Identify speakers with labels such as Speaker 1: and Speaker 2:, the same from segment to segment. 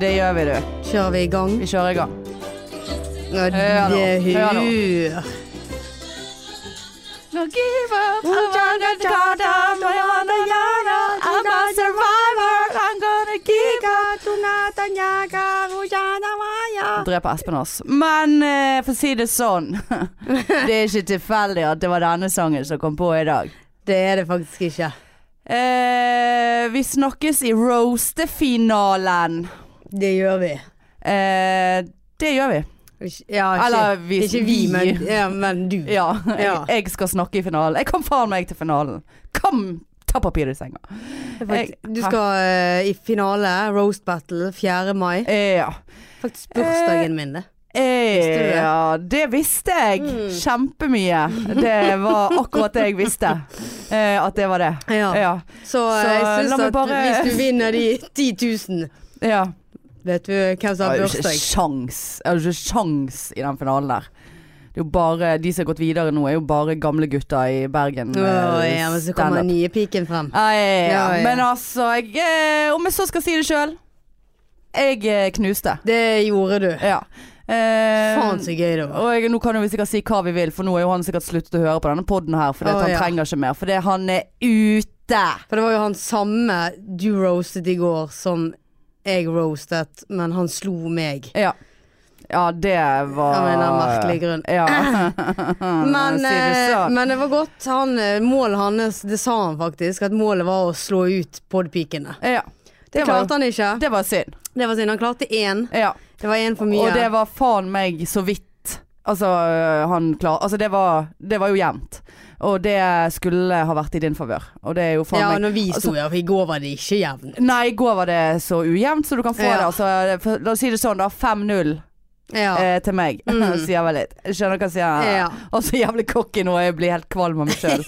Speaker 1: det gjør vi, du.
Speaker 2: Kjører vi i gang?
Speaker 1: Vi kjører i gang.
Speaker 2: Og
Speaker 1: Hør nå,
Speaker 2: det
Speaker 1: hør nå.
Speaker 2: hør.
Speaker 1: No give up, I'm gonna go down, my honor, yana. I'm a survivor, I'm gonna give up tonight, I'm yaga, yana, maya. Drep Espen oss. Men eh, for å si det sånn, det er ikke tilfeldig at det var denne sangen som kom på i dag.
Speaker 2: Det er det faktisk ikke.
Speaker 1: Eh, vi snakkes i roastefinalen.
Speaker 2: Det gjør vi.
Speaker 1: Eh, det gjør vi.
Speaker 2: Ikke- Ja, ikke,
Speaker 1: Eller hvis
Speaker 2: ikke vi,
Speaker 1: vi-
Speaker 2: men, ja, men du.
Speaker 1: Ja, jeg,
Speaker 2: Ja.
Speaker 1: jeg skal snakke i finalen. Jeg kom faen meg til finalen. Kom, ta papiret i senga.
Speaker 2: Det er faktisk-
Speaker 1: jeg-
Speaker 2: du skal eh, i finale, roast battle, 4. mai.
Speaker 1: Eh, ja.
Speaker 2: Faktisk bursdagen min, det.
Speaker 1: Eh,
Speaker 2: du det? Mm.
Speaker 1: ja, det visste jeg. Kjempemye. Det var akkurat det jeg visste. Eh, at det var det.
Speaker 2: Ja.
Speaker 1: Ja.
Speaker 2: Så,
Speaker 1: Så,
Speaker 2: eh, jeg
Speaker 1: la
Speaker 2: syns
Speaker 1: meg
Speaker 2: at
Speaker 1: bare-
Speaker 2: hvis du vinner de 10 000
Speaker 1: ja.
Speaker 2: Vet du hvem
Speaker 1: Jeg
Speaker 2: som har
Speaker 1: har jo ikke
Speaker 2: bursdag?
Speaker 1: sjans. Jeg har jo ikke sjans i den finalen der. Det er jo bare, De som har gått videre nå, er jo bare gamle gutter i Bergen.
Speaker 2: Åh,
Speaker 1: eh,
Speaker 2: ja, men så
Speaker 1: standup.
Speaker 2: kommer nye piken frem.
Speaker 1: Ja, ja, ja, ja.
Speaker 2: Ja, ja.
Speaker 1: Men altså, jeg, eh, om jeg så skal si det sjøl Jeg eh, knuste.
Speaker 2: Det gjorde du.
Speaker 1: Ja. Eh,
Speaker 2: Faen så gøy det var.
Speaker 1: Og jeg, nå kan jo vi sikkert si hva vi vil, for nå er jo han sikkert sluttet å høre på denne podden her, fordi at
Speaker 2: Å,
Speaker 1: han
Speaker 2: ja.
Speaker 1: trenger ikke mer. Fordi han er ute!
Speaker 2: For det var jo han samme du roastet i går som jeg roastet, men han slo meg.
Speaker 1: Ja. Ja, det var
Speaker 2: Av en eller annen merkelig grunn.
Speaker 1: Ah, Ja.
Speaker 2: Men,
Speaker 1: si det
Speaker 2: eh,
Speaker 1: sånn.
Speaker 2: men det var godt. Han, eh, målet hans, det sa han faktisk, at målet var å slå ut podpikene.
Speaker 1: ja.
Speaker 2: Det
Speaker 1: Det var-
Speaker 2: klarte han ikke.
Speaker 1: Det var synd.
Speaker 2: Det var synd. Han klarte én.
Speaker 1: Ja.
Speaker 2: Det var én for mye.
Speaker 1: Og det var faen meg så vidt Altså, øh, han klar... Altså, det var, det var jo jevnt. Og det skulle ha vært i din favør. Og det er jo faen meg
Speaker 2: ja,
Speaker 1: Altså-
Speaker 2: når vi sto ja, for i går var det ikke jevn.
Speaker 1: Nei, i går var det så ujevnt, så du kan få
Speaker 2: Ja.
Speaker 1: det. Altså, for, la oss si det sånn, da. 5-0
Speaker 2: Ja. Mm.
Speaker 1: eh, til meg. sier vel litt. Skjønner hva jeg sier?
Speaker 2: Ja.
Speaker 1: Og så jævlig cocky nå, jeg blir helt kvalm av meg sjøl.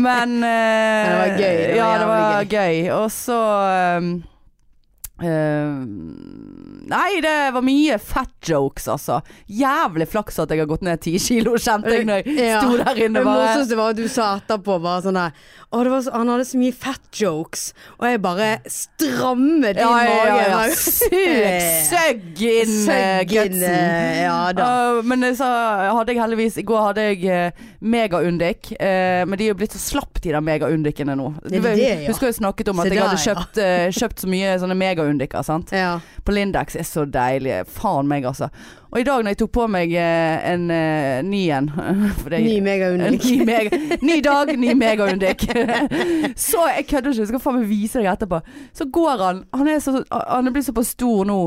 Speaker 1: Men eh,
Speaker 2: det var gøy, det var
Speaker 1: ja, det var
Speaker 2: jævlig
Speaker 1: gøy. Og så ehm, eh, eh, ehm, Nei, det var mye fat jokes, altså. Jævlig flaks at jeg har gått ned ti kilo, kjente jeg når jeg
Speaker 2: Ja.
Speaker 1: sto der inne.
Speaker 2: Det
Speaker 1: Bare.
Speaker 2: morsomste var at du sa etterpå bare sånn der Å, det var så, han hadde så mye fat jokes, og jeg bare strammet inn
Speaker 1: Ja, ja, ja.
Speaker 2: magen.
Speaker 1: Sug, søgg inn eh,
Speaker 2: Søgg inn,
Speaker 1: gutsen.
Speaker 2: eh, Ja da.
Speaker 1: Uh, men så hadde jeg heldigvis I går hadde jeg uh, megaundik, eh, men de er jo blitt så slapp, de der megaundikene nå. Du
Speaker 2: det
Speaker 1: vet-
Speaker 2: det, ja.
Speaker 1: Husker jeg snakket om
Speaker 2: Se
Speaker 1: at jeg
Speaker 2: der,
Speaker 1: hadde
Speaker 2: ja.
Speaker 1: kjøpt, eh, kjøpt så mye sånne megaundiker, sant.
Speaker 2: Ja.
Speaker 1: På Lindex er så deilige. Faen meg, altså. Og i dag når jeg tok på meg eh, en uh, ny en for det-
Speaker 2: Ny megaundik.
Speaker 1: en Ny, mega, ny dag, ny megaundik. så jeg kødder ikke, jeg skal faen meg vise deg etterpå. Så går han Han er, så, han er blitt såpass stor nå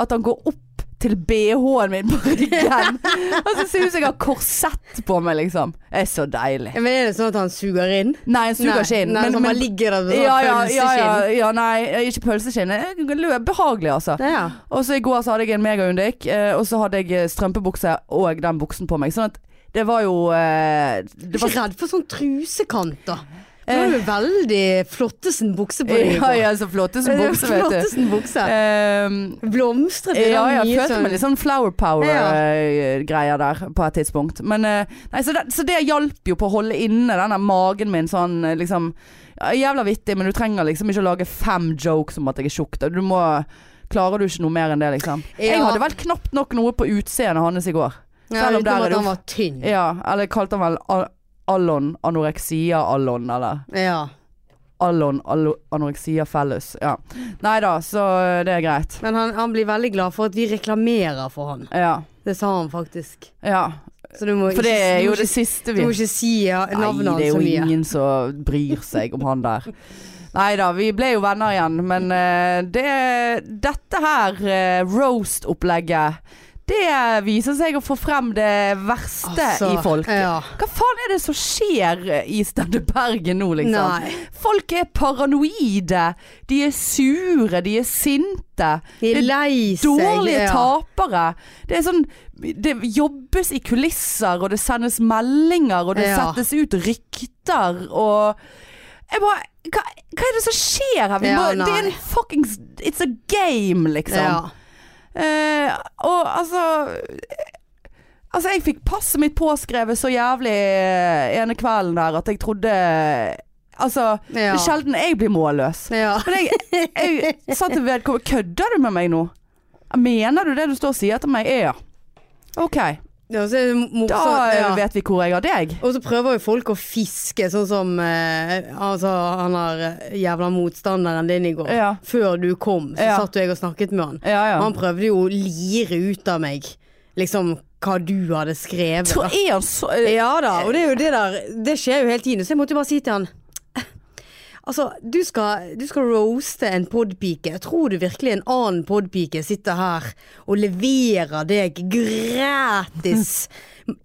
Speaker 1: at han går opp til BH-en min på ryggen. Og så ser det ut som jeg har korsett på meg, liksom. Det er så deilig.
Speaker 2: Ja, Men er det sånn at han suger inn?
Speaker 1: Nei, han suger ikke inn.
Speaker 2: Nei,
Speaker 1: men-
Speaker 2: så han
Speaker 1: men-
Speaker 2: bare ligger der med sånn
Speaker 1: ja, ja, ja,
Speaker 2: pølseskinn.
Speaker 1: ja, ja, nei, ikke pølseskinn. Det er Behagelig, altså.
Speaker 2: Ja, ja.
Speaker 1: Og så i går så hadde jeg en megaundik, eh, og så hadde jeg eh, strømpebukse og den buksen på meg. Sånn at det var jo eh,
Speaker 2: Du
Speaker 1: det
Speaker 2: er
Speaker 1: var
Speaker 2: ikke redd for sånn trusekant, da? Det var jo veldig flottesen bukse på deg. i
Speaker 1: Eh. Ja,
Speaker 2: går.
Speaker 1: ja, så flotte som
Speaker 2: Det var
Speaker 1: bukser, vet du.
Speaker 2: Flottesen bukse.
Speaker 1: Ehm,
Speaker 2: Blomstret i
Speaker 1: ja, jeg
Speaker 2: den nye
Speaker 1: følte meg
Speaker 2: sånn.
Speaker 1: litt sånn flower
Speaker 2: Ja.
Speaker 1: power-greier der på et tidspunkt. Men, eh, nei, så, det, så det hjalp jo på å holde inne den der magen min sånn eh, liksom ja, Jævla vittig, men du trenger liksom ikke å lage fem jokes om at jeg er tjukk. da. Du må Klarer du ikke noe mer enn det, liksom? Jeg
Speaker 2: Ja.
Speaker 1: hadde vel knapt nok noe på utseendet hans i går.
Speaker 2: Ja,
Speaker 1: Selv om der
Speaker 2: utenom
Speaker 1: er
Speaker 2: at
Speaker 1: det
Speaker 2: han
Speaker 1: jo-
Speaker 2: var tynn.
Speaker 1: Ja, eller jeg kalte han vel Al- Allon anoreksia-Allon, eller?
Speaker 2: Ja.
Speaker 1: Allon allo- anoreksia fellus. Ja. Nei da, så eh, det er greit.
Speaker 2: Men han, han blir veldig glad for at vi reklamerer for han.
Speaker 1: Ja.
Speaker 2: Det sa han faktisk.
Speaker 1: ja.
Speaker 2: Så du må
Speaker 1: For det er
Speaker 2: du må
Speaker 1: jo det
Speaker 2: ikke,
Speaker 1: siste
Speaker 2: Du
Speaker 1: vi
Speaker 2: må ikke si ja,
Speaker 1: Nei,
Speaker 2: navnet
Speaker 1: det
Speaker 2: hans
Speaker 1: er
Speaker 2: så
Speaker 1: jo
Speaker 2: mye.
Speaker 1: ingen som bryr seg om han der. Nei da, vi ble jo venner igjen, men eh, det, dette her eh, roast-opplegget Det viser seg å få frem det verste
Speaker 2: Altså,
Speaker 1: i folk.
Speaker 2: Ja.
Speaker 1: Hva faen er det som skjer i Standup Bergen nå, liksom?
Speaker 2: Nei.
Speaker 1: Folk er paranoide. De er sure, de er sinte.
Speaker 2: De er
Speaker 1: Det-
Speaker 2: lei seg.
Speaker 1: Dårlige
Speaker 2: ja.
Speaker 1: tapere. Det er sånn Det jobbes i kulisser, og det sendes meldinger, og det
Speaker 2: Ja.
Speaker 1: settes ut rykter, og jeg bare, hva, hva er det som skjer her? Vi
Speaker 2: Ja,
Speaker 1: bare, det er
Speaker 2: nei.
Speaker 1: en fuckings It's a game, liksom.
Speaker 2: Ja.
Speaker 1: Eh, og altså Altså, jeg fikk passet mitt påskrevet så jævlig eh, ene kvelden der at jeg trodde Altså, det
Speaker 2: Ja.
Speaker 1: er sjelden jeg blir målløs.
Speaker 2: ja.
Speaker 1: Men jeg, jeg sa til vedkommende Kødder du med meg nå? Mener du det du står og sier til meg? Ja. OK.
Speaker 2: Ja, og så er det
Speaker 1: Da
Speaker 2: morsomt.
Speaker 1: eh,
Speaker 2: ja.
Speaker 1: vet vi hvor jeg har deg.
Speaker 2: Og så prøver jo folk å fiske, sånn som eh, altså, han der jævla motstanderen din i går.
Speaker 1: Ja.
Speaker 2: Før du kom, så
Speaker 1: Ja.
Speaker 2: satt jo jeg og snakket med han.
Speaker 1: Ja, ja.
Speaker 2: Og Han prøvde jo å lire ut av meg liksom hva du hadde skrevet.
Speaker 1: Tror
Speaker 2: da.
Speaker 1: jeg han så eh,
Speaker 2: Ja da, og det er jo det der Det skjer jo hele tiden, så jeg måtte jo bare si til han Altså, du skal, du skal roaste en podpike. Tror du virkelig en annen podpike sitter her og leverer deg gratis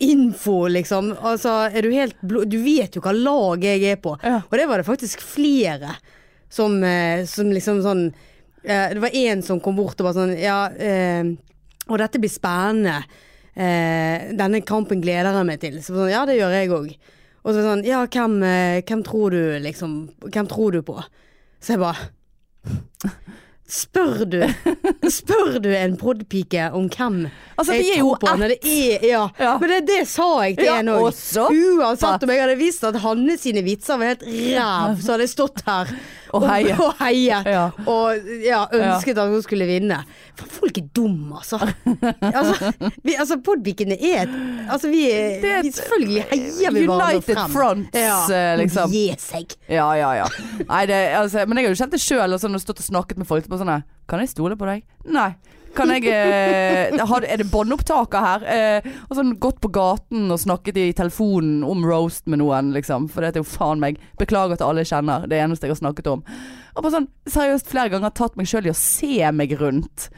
Speaker 2: info, liksom? Altså, er du helt blå Du vet jo hva lag jeg er på.
Speaker 1: Ja.
Speaker 2: Og det var det faktisk flere som, eh, som liksom sånn eh, Det var én som kom bort og var sånn Ja, eh, og dette blir spennende. Eh, denne kampen gleder jeg meg til. Så sånn, ja, det gjør jeg òg. Og så sånn, ja, hvem, eh, hvem tror du liksom Hvem tror du på? Så jeg bare Spør du Spør du en podpike om hvem
Speaker 1: Altså,
Speaker 2: jeg
Speaker 1: vi er jo
Speaker 2: tror på når det er ja.
Speaker 1: Ja.
Speaker 2: Men det, det sa jeg til
Speaker 1: Ja,
Speaker 2: en
Speaker 1: og
Speaker 2: òg.
Speaker 1: så-
Speaker 2: Uansett om jeg hadde visst at Hanne sine vitser var helt ræv, så hadde jeg stått her
Speaker 1: Og heiet.
Speaker 2: og, heiet,
Speaker 1: Ja.
Speaker 2: og ja, ønsket at hun skulle vinne. For folk er dumme, altså. altså, vi, altså Podbikene er et Altså, vi er,
Speaker 1: Det er et-
Speaker 2: vi selvfølgelig heier vi hverandre
Speaker 1: United
Speaker 2: frem.
Speaker 1: fronts, eh, liksom.
Speaker 2: Gi seg.
Speaker 1: Ja, ja, ja. Nei, det, altså, men jeg har jo kjent det sjøl. Altså, når jeg har stått og snakket med folk på sånn her, Kan jeg stole på deg? Nei. Kan jeg eh, har, Er det båndopptaker her? Eh, og sånn gått på gaten og snakket i telefonen om roast med noen, liksom. For det er jo faen meg Beklager til alle jeg kjenner. Det er det eneste jeg har snakket om. Og bare sånn seriøst flere ganger tatt meg sjøl i å se meg rundt.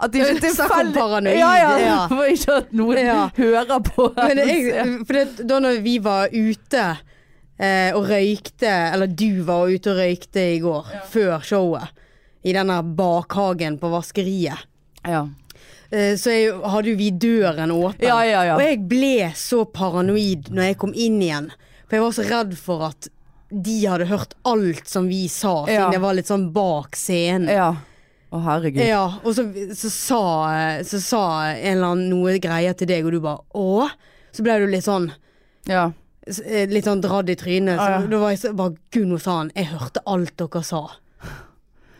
Speaker 1: At det ikke er
Speaker 2: Snakk om
Speaker 1: tilfeldig-
Speaker 2: paranoid,
Speaker 1: Ja, ja.
Speaker 2: ja.
Speaker 1: For ikke at noen
Speaker 2: Ja.
Speaker 1: hører på.
Speaker 2: Men jeg, for det, da når vi var ute eh, og røykte, eller du var ute og røykte i går, før showet, i denne bakhagen på vaskeriet,
Speaker 1: ja.
Speaker 2: eh, så jeg, hadde jo vi døren åpen.
Speaker 1: Ja, ja, ja.
Speaker 2: Og jeg ble så paranoid når jeg kom inn igjen, for jeg var så redd for at de hadde hørt alt som vi sa, siden
Speaker 1: Ja.
Speaker 2: jeg var litt sånn bak scenen.
Speaker 1: ja. Å, herregud.
Speaker 2: Ja, og så, så, sa, så sa en eller annen noe greier til deg, og du bare åh? Så ble du litt sånn
Speaker 1: Ja.
Speaker 2: s- eh, litt sånn dradd i trynet.
Speaker 1: Ah, ja.
Speaker 2: Så da var jeg så, bare Gud, nå sa han Jeg hørte alt dere sa.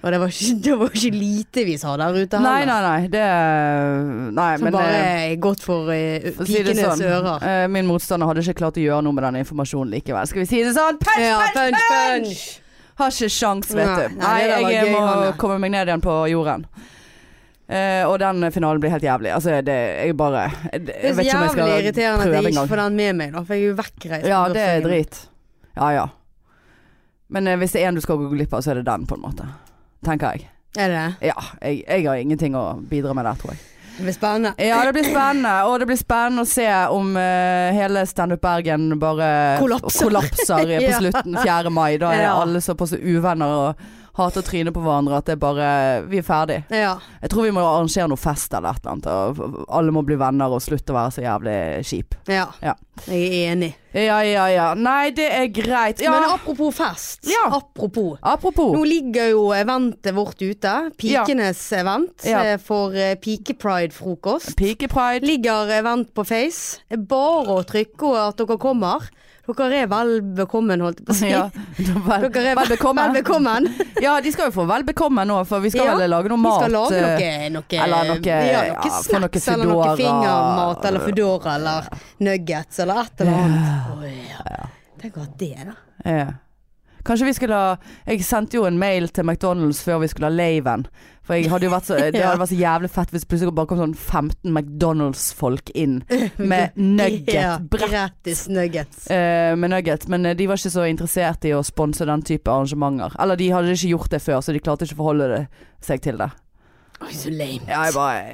Speaker 2: Og det var ikke, det var ikke lite vi sa der ute
Speaker 1: Nei,
Speaker 2: heller.
Speaker 1: nei, nei. Det Nei,
Speaker 2: Som
Speaker 1: men
Speaker 2: bare
Speaker 1: eh,
Speaker 2: er godt for eh,
Speaker 1: for å si det
Speaker 2: pikenes
Speaker 1: sånn,
Speaker 2: ører.
Speaker 1: eh, Min motstander hadde ikke klart å gjøre noe med den informasjonen likevel. Skal vi si det sånn? Punch,
Speaker 2: Ja,
Speaker 1: punch, punch!
Speaker 2: punch, punch!
Speaker 1: Har ikke sjans, vet
Speaker 2: Nei,
Speaker 1: du. Nei,
Speaker 2: nei, det der var
Speaker 1: jeg
Speaker 2: gøy,
Speaker 1: må
Speaker 2: Hanne.
Speaker 1: komme meg ned igjen på jorden. Eh, og den finalen blir helt jævlig. Altså, det Jeg bare Jeg,
Speaker 2: Det
Speaker 1: jeg
Speaker 2: er så
Speaker 1: vet ikke om jeg
Speaker 2: jævlig
Speaker 1: skal
Speaker 2: irriterende at
Speaker 1: prøve
Speaker 2: jeg ikke
Speaker 1: engang.
Speaker 2: får den med meg, da. For jeg er jo vekkreist.
Speaker 1: Ja, det er
Speaker 2: bursdagen.
Speaker 1: drit. Ja ja. Men eh, hvis det er en du skal gå glipp av, så er det den, på en måte. Tenker jeg.
Speaker 2: Er det det?
Speaker 1: Ja. Jeg, jeg har ingenting å bidra med der, tror jeg.
Speaker 2: Det blir spennende.
Speaker 1: Ja, det blir spennende. Og det blir spennende å se om eh, hele Standup Bergen bare
Speaker 2: Kollapser.
Speaker 1: kollapser på
Speaker 2: Ja.
Speaker 1: slutten 4. mai. Da er
Speaker 2: Ja.
Speaker 1: alle såpass uvenner og hater trynet på hverandre at det er bare Vi er ferdig.
Speaker 2: Ja.
Speaker 1: Jeg tror vi må arrangere noe fest eller et eller annet. Og alle må bli venner og slutte å være så jævlig kjip.
Speaker 2: ja.
Speaker 1: Ja.
Speaker 2: Jeg er enig.
Speaker 1: Ja, ja, ja. Nei, det er greit. Ja.
Speaker 2: Men apropos fest.
Speaker 1: Ja.
Speaker 2: Apropos. Nå
Speaker 1: Apropos.
Speaker 2: ligger jo eventet vårt ute. Pikenes event
Speaker 1: Ja.
Speaker 2: eh, for eh, pikepride-frokost.
Speaker 1: Pikepride.
Speaker 2: Ligger event på Face. Det er Bare å trykke og at dere kommer. Dere er vel bekommen, holdt jeg på å si.
Speaker 1: Ja. Vel,
Speaker 2: Dere er
Speaker 1: vel bekomme.
Speaker 2: Vel bekommen.
Speaker 1: Ja, de skal jo få vel bekomme nå, for vi skal
Speaker 2: Ja,
Speaker 1: vel lage noe
Speaker 2: Vi
Speaker 1: mat.
Speaker 2: skal lage
Speaker 1: eh,
Speaker 2: noe, noe,
Speaker 1: eller noe-
Speaker 2: ja,
Speaker 1: ja,
Speaker 2: noe
Speaker 1: få
Speaker 2: snacks
Speaker 1: noe
Speaker 2: eller noe
Speaker 1: Foodora. eh,
Speaker 2: fingermat eller Foodora eller nuggets eller et eller annet. Å, ja. Tenk å ha det, da.
Speaker 1: Ja. Kanskje vi skulle ha Jeg sendte jo en mail til McDonald's før vi skulle ha Laven. For jeg hadde jo vært så, det hadde vært så jævlig fett hvis plutselig bare kom sånn 15 McDonald's-folk inn med
Speaker 2: Ja,
Speaker 1: nugget. Brett
Speaker 2: Gratis nuggets.
Speaker 1: eh, med nugget. Men eh, de var ikke så interessert i å sponse den type arrangementer. Eller de hadde ikke gjort det før, så de klarte ikke å forholde det, seg til det.
Speaker 2: Oi, så lame.
Speaker 1: Ja, jeg bare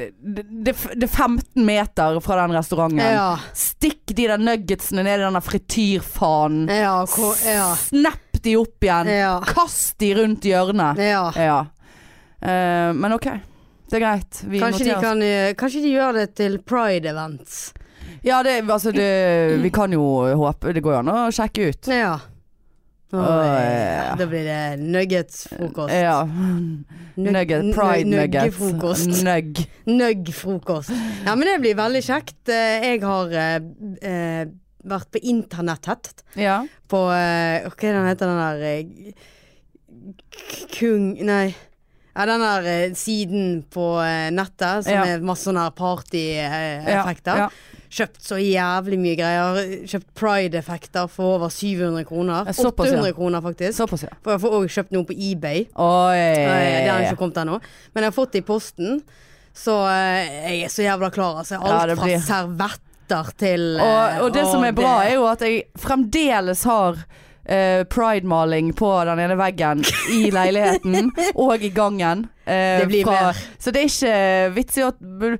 Speaker 1: det, det, det det er 15 meter fra den restauranten.
Speaker 2: Ja.
Speaker 1: Stikk de der nuggetsene ned i den der frityrfanen.
Speaker 2: Ja, hvor, ja.
Speaker 1: Snapp de opp igjen.
Speaker 2: Ja.
Speaker 1: Kast de rundt hjørnet.
Speaker 2: ja.
Speaker 1: Ja. Eh, men ok, det er greit. Vi
Speaker 2: Kanskje de,
Speaker 1: noterer oss.
Speaker 2: kan, eh, kanskje de gjør det til pride events.
Speaker 1: Ja, det, altså
Speaker 2: Mm.
Speaker 1: det, vi kan jo håpe Det går jo an å sjekke ut.
Speaker 2: Ja. Å,
Speaker 1: Åh,
Speaker 2: ja.
Speaker 1: ja.
Speaker 2: Da blir det nuggets-frokost.
Speaker 1: Ja.
Speaker 2: Nug-
Speaker 1: Nugget.
Speaker 2: nu-
Speaker 1: Pride nuggets. Mm.
Speaker 2: Nuggefrokost.
Speaker 1: Nugg.
Speaker 2: Nugg-frokost. Ja, men det blir veldig kjekt. Eh, Jeg har eh, eh, vært på internettet
Speaker 1: Ja.
Speaker 2: på eh, Hva er den heter den der eh, Kung... Nei. Ja, den der eh, siden på eh, nettet som
Speaker 1: Ja.
Speaker 2: er masse sånne party-effekter.
Speaker 1: Ja, ja.
Speaker 2: Kjøpt så jævlig mye greier. Kjøpt pride-effekter for over 700 kroner.
Speaker 1: Ja, såpass, ja.
Speaker 2: 800 kroner, faktisk.
Speaker 1: Såpass, ja.
Speaker 2: For jeg får òg kjøpt noe på eBay.
Speaker 1: Oi.
Speaker 2: Eh, Det har ikke kommet ennå. Men jeg har fått det i posten, så eh, jeg er så jævla klar. Altså.
Speaker 1: Ja,
Speaker 2: Alt
Speaker 1: det
Speaker 2: fra
Speaker 1: blir-
Speaker 2: servetter til eh,
Speaker 1: Og, og det som er bra, er jo at jeg fremdeles har eh, pride-maling på den ene veggen i leiligheten og i gangen. eh,
Speaker 2: Det blir mer.
Speaker 1: Så det er ikke vits i at Jeg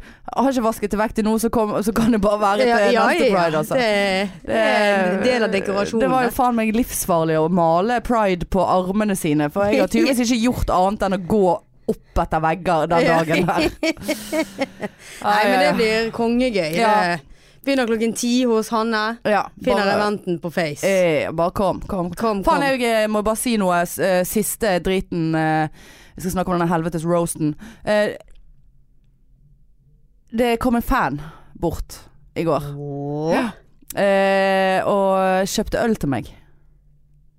Speaker 1: har ikke vasket det vekk til nå, så, kom, så kan det bare være til
Speaker 2: ja, ja,
Speaker 1: neste
Speaker 2: ja,
Speaker 1: pride, altså.
Speaker 2: Det, det er en del av dekorasjonen.
Speaker 1: Det var jo faen meg livsfarlig å male pride på armene sine, for jeg har tydeligvis ikke gjort annet enn å gå opp etter vegger den dagen der.
Speaker 2: Nei, men det
Speaker 1: Ja,
Speaker 2: blir kongegøy.
Speaker 1: Ja.
Speaker 2: Det begynner klokken ti hos Hanne.
Speaker 1: ja,
Speaker 2: Finner
Speaker 1: bare-
Speaker 2: eventen på Face.
Speaker 1: Eh, bare kom, kom.
Speaker 2: Kom,
Speaker 1: Faen,
Speaker 2: kom.
Speaker 1: jeg eh, må bare si noe. s- eh, Siste driten eh, Vi skal snakke om denne helvetes roasten. Eh, Det kom en fan bort i går
Speaker 2: Åh.
Speaker 1: eh, og kjøpte øl til meg.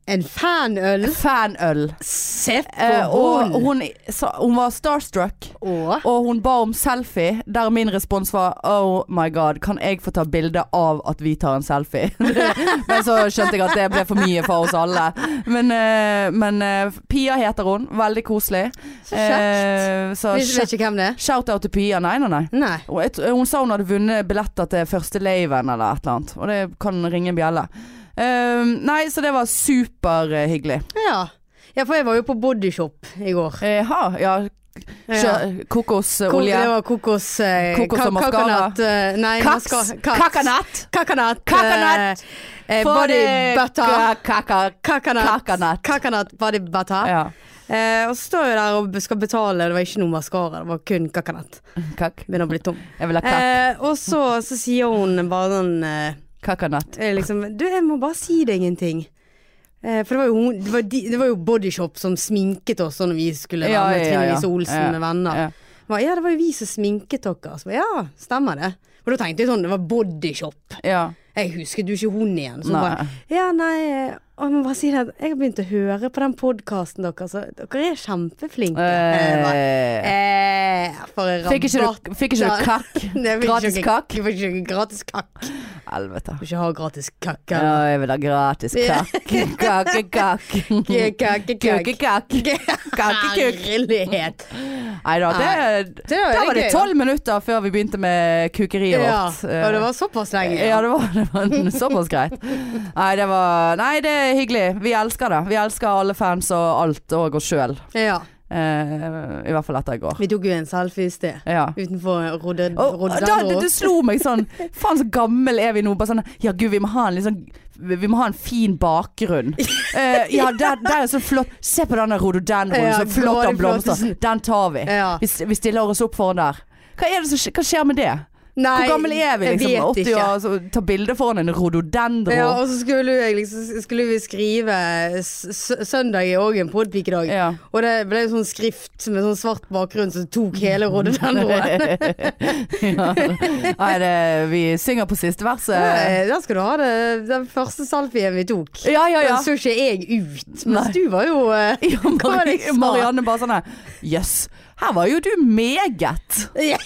Speaker 2: En fanøl.
Speaker 1: Fanøl.
Speaker 2: Se på
Speaker 1: Eh, og
Speaker 2: hun.
Speaker 1: hun, sa, hun var starstruck,
Speaker 2: Åh.
Speaker 1: og hun ba om selfie, der min respons var Oh my god, kan jeg få ta bilde av at vi tar en selfie? men så skjønte jeg at det ble for mye for oss alle. Men, eh, men eh, Pia heter hun. Veldig koselig.
Speaker 2: Så kjekt.
Speaker 1: Eh, så
Speaker 2: Vet vet ikke hvem det er.
Speaker 1: shout-out til Pia. Nei, nei, nei.
Speaker 2: Nei.
Speaker 1: Hun, jeg tr- hun sa hun hadde vunnet billetter til første laven eller et eller annet, og det kan ringe en bjelle. Eh, nei, så det var eh, superhyggelig.
Speaker 2: Ja. ja, for jeg var jo på Bodyshop i går.
Speaker 1: Jaha, Eh, ja.
Speaker 2: Ja.
Speaker 1: Kjø-
Speaker 2: Ko-
Speaker 1: Kokosolje.
Speaker 2: Det var kokos... Eh,
Speaker 1: Kokos og mascara.
Speaker 2: kakonat, eh, nei,
Speaker 1: Kaks.
Speaker 2: maska- kaks.
Speaker 1: Kakanett.
Speaker 2: Kakanat.
Speaker 1: Kakanat.
Speaker 2: Eh, eh,
Speaker 1: For
Speaker 2: body
Speaker 1: det-
Speaker 2: butter.
Speaker 1: ka- kaka-
Speaker 2: Kakanat.
Speaker 1: Kakanat.
Speaker 2: Kakanat body butter.
Speaker 1: Ja.
Speaker 2: Eh, og så står jeg der og skal betale, det var ikke noe maskara, det var kun kakanat.
Speaker 1: Kak.
Speaker 2: Begynner å bli tom.
Speaker 1: Jeg vil ha kak.
Speaker 2: Eh, og så, så sier hun bare sånn eh,
Speaker 1: kakanat.
Speaker 2: eh, liksom, Du, jeg må bare si deg en ting. Eh, for det var jo, hun- det var, de, det var jo Bodyshop som sminket oss sånn når vi skulle være
Speaker 1: Ja,
Speaker 2: med
Speaker 1: ja,
Speaker 2: Trine
Speaker 1: ja.
Speaker 2: Lise Olsen
Speaker 1: Ja,
Speaker 2: med venner.
Speaker 1: ja.
Speaker 2: Ba, ja, det var jo vi som sminket dere. Så ba, ja, stemmer det. Og da tenkte jeg sånn, det var Bodyshop.
Speaker 1: Ja.
Speaker 2: Jeg husket jo ikke hun igjen. Så hun
Speaker 1: Nei.
Speaker 2: bare Ja, nei, eh, og jeg må bare si det at jeg har begynt å høre på den podkasten deres, så dere er kjempeflinke. Jeg bare,
Speaker 1: Eh,
Speaker 2: Eh, for en
Speaker 1: Fikk ikke
Speaker 2: rabatt.
Speaker 1: du, fikk ikke du kakk?
Speaker 2: Nei, vi
Speaker 1: Gratis
Speaker 2: fikk ikke-
Speaker 1: kakk?
Speaker 2: Vi fikk ikke gratis kakk.
Speaker 1: Helvete.
Speaker 2: Vil ikke ha gratis kakk.
Speaker 1: Ja,
Speaker 2: eller?
Speaker 1: jeg vil ha gratis
Speaker 2: Ja.
Speaker 1: kakk. Kakekakk.
Speaker 2: Kakekakk.
Speaker 1: Kukekakk. Kakekuk.
Speaker 2: Herlighet.
Speaker 1: Nei da, det
Speaker 2: Det var,
Speaker 1: Da var det
Speaker 2: gøy,
Speaker 1: tolv minutter før vi begynte med
Speaker 2: da.
Speaker 1: kukeriet
Speaker 2: Ja,
Speaker 1: vårt. Eh,
Speaker 2: og det var såpass lenge.
Speaker 1: Ja, det var, det var såpass greit. Nei, det var Nei, det er hyggelig. Vi elsker det. Vi elsker alle fans og alt, og oss sjøl.
Speaker 2: Ja.
Speaker 1: Eh, I hvert fall etter i går.
Speaker 2: Vi tok jo en selfie i sted.
Speaker 1: Ja.
Speaker 2: Utenfor Rodde-
Speaker 1: Og, og da, det,
Speaker 2: Rododendro.
Speaker 1: det slo meg sånn Faen, så gammel er vi nå. Bare sånn Ja, gud, vi må ha en, litt sånn- vi må ha en fin bakgrunn. Eh, ja, der, der er så flott. Se på den der rhododendronen,
Speaker 2: Ja,
Speaker 1: så flott
Speaker 2: Grådig
Speaker 1: den blomstrer.
Speaker 2: flottesen.
Speaker 1: Den tar vi.
Speaker 2: Ja.
Speaker 1: vi. s- Vi stiller oss opp foran der. Hva, er det som, skje- hva skjer med det?
Speaker 2: Nei,
Speaker 1: Hvor gammel er vi?
Speaker 2: jeg
Speaker 1: Liksom?
Speaker 2: vet
Speaker 1: 80
Speaker 2: ikke.
Speaker 1: år, så tar bilde foran en rhododendro.
Speaker 2: Ja, og så skulle, jeg liksom, skulle vi skrive s s- Søndag er òg en podpikedag.
Speaker 1: Ja.
Speaker 2: Og det ble sånn skrift med sånn svart bakgrunn som tok hele rododendroen.
Speaker 1: Ja. Nei, det, vi synger på siste verset.
Speaker 2: Eh, Der skal du ha det, den første selfien vi tok.
Speaker 1: Ja, ja, ja.
Speaker 2: Den så ikke jeg ut,
Speaker 1: Nei.
Speaker 2: mens du var jo eh,
Speaker 1: Ja,
Speaker 2: Hva var det
Speaker 1: Mari
Speaker 2: jeg sa?
Speaker 1: Marianne bare sånn her Jøss, her var jo du meget.
Speaker 2: Ja,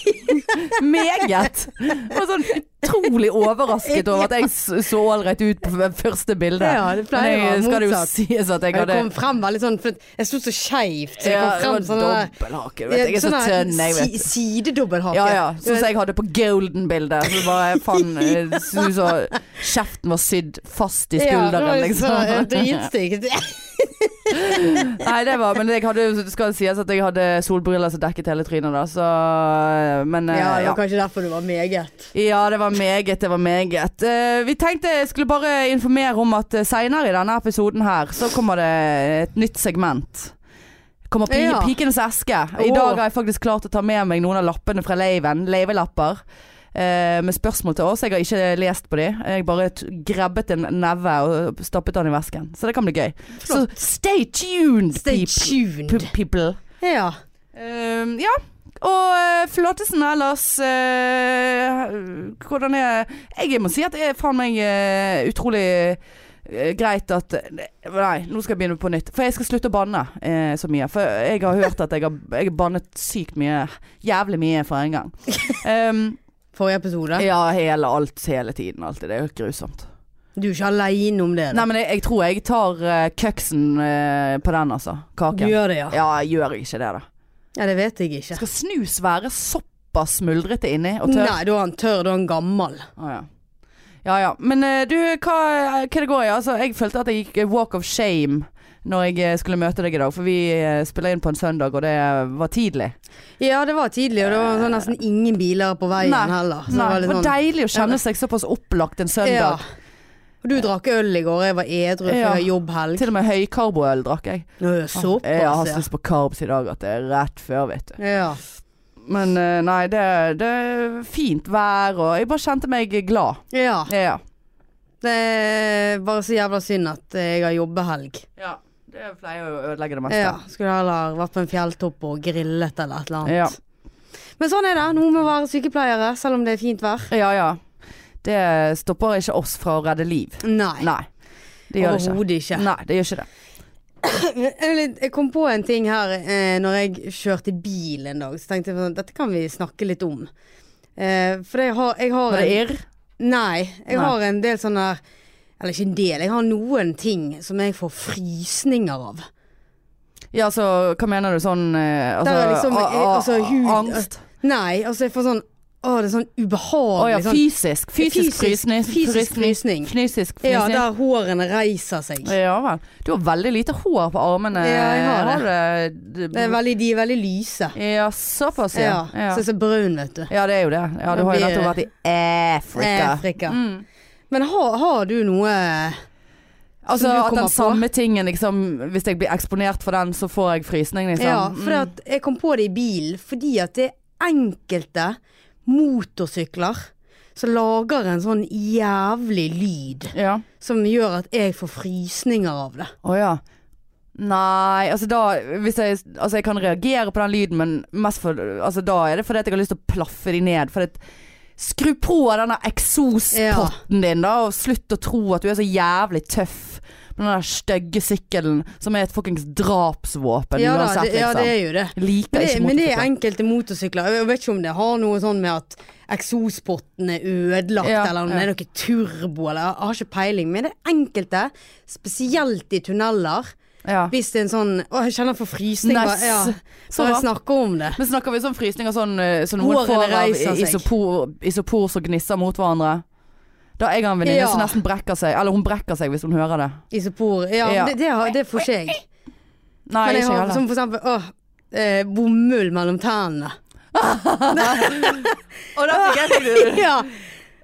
Speaker 1: Meget. Og sånn utrolig overrasket over at jeg s- så ålreit ut på f- første bilde.
Speaker 2: Ja, det pleier
Speaker 1: Men jeg-
Speaker 2: å være
Speaker 1: Skal det jo
Speaker 2: motsatt.
Speaker 1: sies at jeg
Speaker 2: Jeg
Speaker 1: hadde
Speaker 2: kom frem veldig sånn, for jeg sto så skeivt, så jeg
Speaker 1: ja,
Speaker 2: kom frem
Speaker 1: det var
Speaker 2: sånn der
Speaker 1: dobbelthake. du vet, Jeg er så
Speaker 2: sånn der
Speaker 1: tynn, jeg vet.
Speaker 2: si- Sidedobbelhake.
Speaker 1: Ja ja, sånn som jeg hadde på Golden-bildet. Så bare faen eh, det så ut som kjeften var sydd fast i skulderen,
Speaker 2: sånn,
Speaker 1: liksom.
Speaker 2: Dritstygt.
Speaker 1: Nei, det var Men jeg hadde jo, det skal sies at jeg hadde solbriller som dekket hele trynet, da, så Men eh,
Speaker 2: Ja, det
Speaker 1: ja.
Speaker 2: var kanskje derfor du var meget.
Speaker 1: Ja, det var meget, det var meget. Eh, vi tenkte jeg skulle bare informere om at eh, senere i denne episoden her, så kommer det et nytt segment. Kommer pi
Speaker 2: Ja.
Speaker 1: Pikenes eske. I
Speaker 2: Åh.
Speaker 1: dag har jeg faktisk klart å ta med meg noen av lappene fra laven. Lavelapper. eh, med spørsmål til oss. Jeg har ikke lest på de. Jeg bare t grabbet en neve og stappet den i vesken. Så det kan bli gøy. Så
Speaker 2: Flott.
Speaker 1: stay tuned,
Speaker 2: Stay
Speaker 1: peop-
Speaker 2: tuned.
Speaker 1: pe- people.
Speaker 2: Ja.
Speaker 1: Ehm, ja. Og eh, Flottesen ellers eh, Hvordan er Jeg må si at jeg er faen meg eh, utrolig eh, greit at Nei, nå skal jeg begynne på nytt. For jeg skal slutte å banne eh, så mye. For jeg har hørt at jeg har, jeg har bannet sykt mye. Jævlig mye for en gang. Ehm,
Speaker 2: Forrige episode.
Speaker 1: ja, hele alt, hele tiden. Alltid. Det er jo grusomt.
Speaker 2: Du er ikke aleine om det. da.
Speaker 1: Nei, men jeg, jeg tror jeg tar uh, køksen eh, på den, altså.
Speaker 2: du
Speaker 1: Kaken.
Speaker 2: gjør det, ja.
Speaker 1: Ja, jeg gjør ikke det, da.
Speaker 2: Ja, det vet jeg ikke.
Speaker 1: Skal snus være såpass smuldrete inni og tørr?
Speaker 2: Nei, da er han tørr, da er han gammel.
Speaker 1: Å, ja. ja ja. Men eh, du, hva, hva det går i? Altså, jeg følte at jeg gikk walk of shame når jeg eh, skulle møte deg i dag. For vi eh, spiller inn på en søndag, og det eh, var tidlig.
Speaker 2: Ja, det var tidlig, og det var sånn nesten ingen biler på veien
Speaker 1: Nei.
Speaker 2: heller. Så
Speaker 1: Nei,
Speaker 2: det var litt sånn
Speaker 1: deilig å kjenne seg såpass opplagt en
Speaker 2: Ja.
Speaker 1: søndag.
Speaker 2: Og du drakk øl i går, jeg var edru
Speaker 1: Ja.
Speaker 2: før jobbhelg.
Speaker 1: Til og med høykarboøl drakk jeg.
Speaker 2: Nå er det
Speaker 1: Jeg har
Speaker 2: såpass,
Speaker 1: så lyst på karbs i dag at det er rett før, vet du.
Speaker 2: ja. ja.
Speaker 1: Men eh, nei, det, det er fint vær og Jeg bare kjente meg glad.
Speaker 2: Ja.
Speaker 1: Ja.
Speaker 2: Det er bare så jævla synd at jeg har jobbehelg.
Speaker 1: ja. Det pleier jo å ødelegge det meste.
Speaker 2: Ja, skulle heller vært på en fjelltopp og grillet eller et eller annet.
Speaker 1: Ja.
Speaker 2: Men sånn er det. Noe med å være sykepleiere, selv om det er fint vær.
Speaker 1: Ja ja. Det stopper ikke oss fra å redde liv.
Speaker 2: Nei.
Speaker 1: Nei. Det gjør det ikke.
Speaker 2: Overhodet ikke.
Speaker 1: Nei, det gjør ikke det.
Speaker 2: Jeg vil- Jeg kom på en ting her eh, når jeg kjørte bil en dag. Så tenkte jeg sånn, dette kan vi snakke litt om. Eh, for jeg har, jeg har
Speaker 1: Var det
Speaker 2: en-
Speaker 1: irr?
Speaker 2: Nei. Jeg
Speaker 1: Nei.
Speaker 2: har en del sånne der Eller ikke en del. Jeg har noen ting som jeg får frysninger av.
Speaker 1: Ja, altså, hva mener du sånn eh, altså,
Speaker 2: Der er liksom,
Speaker 1: a- a-
Speaker 2: altså, hud-
Speaker 1: Angst?
Speaker 2: Nei, altså jeg får sånn Å, det er sånn
Speaker 1: Å ja,
Speaker 2: ubehagelig. sånn,
Speaker 1: fysisk. Fysisk
Speaker 2: Fysisk-
Speaker 1: frysning.
Speaker 2: fysisk frysning.
Speaker 1: Fysisk
Speaker 2: ja,
Speaker 1: frysning.
Speaker 2: der hårene reiser seg.
Speaker 1: Ja vel. Du har veldig lite hår på armene.
Speaker 2: Ja, jeg har det.
Speaker 1: det.
Speaker 2: Det er veldig, de er veldig lyse.
Speaker 1: Ja, såpass,
Speaker 2: Ja.
Speaker 1: ja. Ja.
Speaker 2: Så jeg er så brun, vet du.
Speaker 1: ja, det er jo det. Ja, du har jo
Speaker 2: Det blir-
Speaker 1: nettopp vært i Afrika.
Speaker 2: Afrika.
Speaker 1: Mm.
Speaker 2: Men har, har du noe
Speaker 1: Altså
Speaker 2: du
Speaker 1: at
Speaker 2: kommer
Speaker 1: den
Speaker 2: på?
Speaker 1: samme tingen liksom Hvis jeg blir eksponert for den, så får jeg frysning, liksom.
Speaker 2: Ja, for
Speaker 1: Mm.
Speaker 2: at jeg kom på det i bilen fordi at det er enkelte motorsykler som lager en sånn jævlig lyd
Speaker 1: ja.
Speaker 2: som gjør at jeg får frysninger av det.
Speaker 1: Å ja. Nei, altså da hvis jeg, altså jeg kan reagere på den lyden, men mest for, altså da er det fordi at jeg har lyst til å plaffe de ned. Fordi at, skru på denne eksospotten din, da, og slutt å tro at du er så jævlig tøff med den der stygge sykkelen som er et fuckings drapsvåpen
Speaker 2: Ja, da,
Speaker 1: uansett,
Speaker 2: det, ja, det
Speaker 1: liksom.
Speaker 2: er jo det.
Speaker 1: Liker
Speaker 2: Men det,
Speaker 1: ikke
Speaker 2: men det er
Speaker 1: motorsykler.
Speaker 2: enkelte motorsykler. Jeg vet ikke om det har noe sånn med at eksospotten er ødelagt,
Speaker 1: Ja,
Speaker 2: eller om det er noe turbo, eller jeg har ikke peiling. Men det er enkelte, spesielt i tunneler,
Speaker 1: Ja.
Speaker 2: hvis det er en sånn Å, jeg kjenner for frysning.
Speaker 1: Nei,
Speaker 2: bare- Ja,
Speaker 1: s- så
Speaker 2: bare
Speaker 1: rart.
Speaker 2: snakke om det.
Speaker 1: Men snakker vi sånn frysninger sånn, eh, som noen
Speaker 2: Hårene
Speaker 1: får av
Speaker 2: reiser
Speaker 1: i-
Speaker 2: seg.
Speaker 1: isopor, isopor som gnisser mot hverandre? Da jeg har en venninne
Speaker 2: Ja.
Speaker 1: som nesten brekker seg. Eller hun brekker seg hvis hun hører det.
Speaker 2: Isopor. Ja,
Speaker 1: Ja.
Speaker 2: Det, det, har- det får ikke jeg.
Speaker 1: Nei,
Speaker 2: Men jeg
Speaker 1: ikke jeg
Speaker 2: har liksom-
Speaker 1: heller.
Speaker 2: som for eksempel åh, eh, bomull mellom tennene.
Speaker 1: Og da fikk jeg fikk du.
Speaker 2: Ja.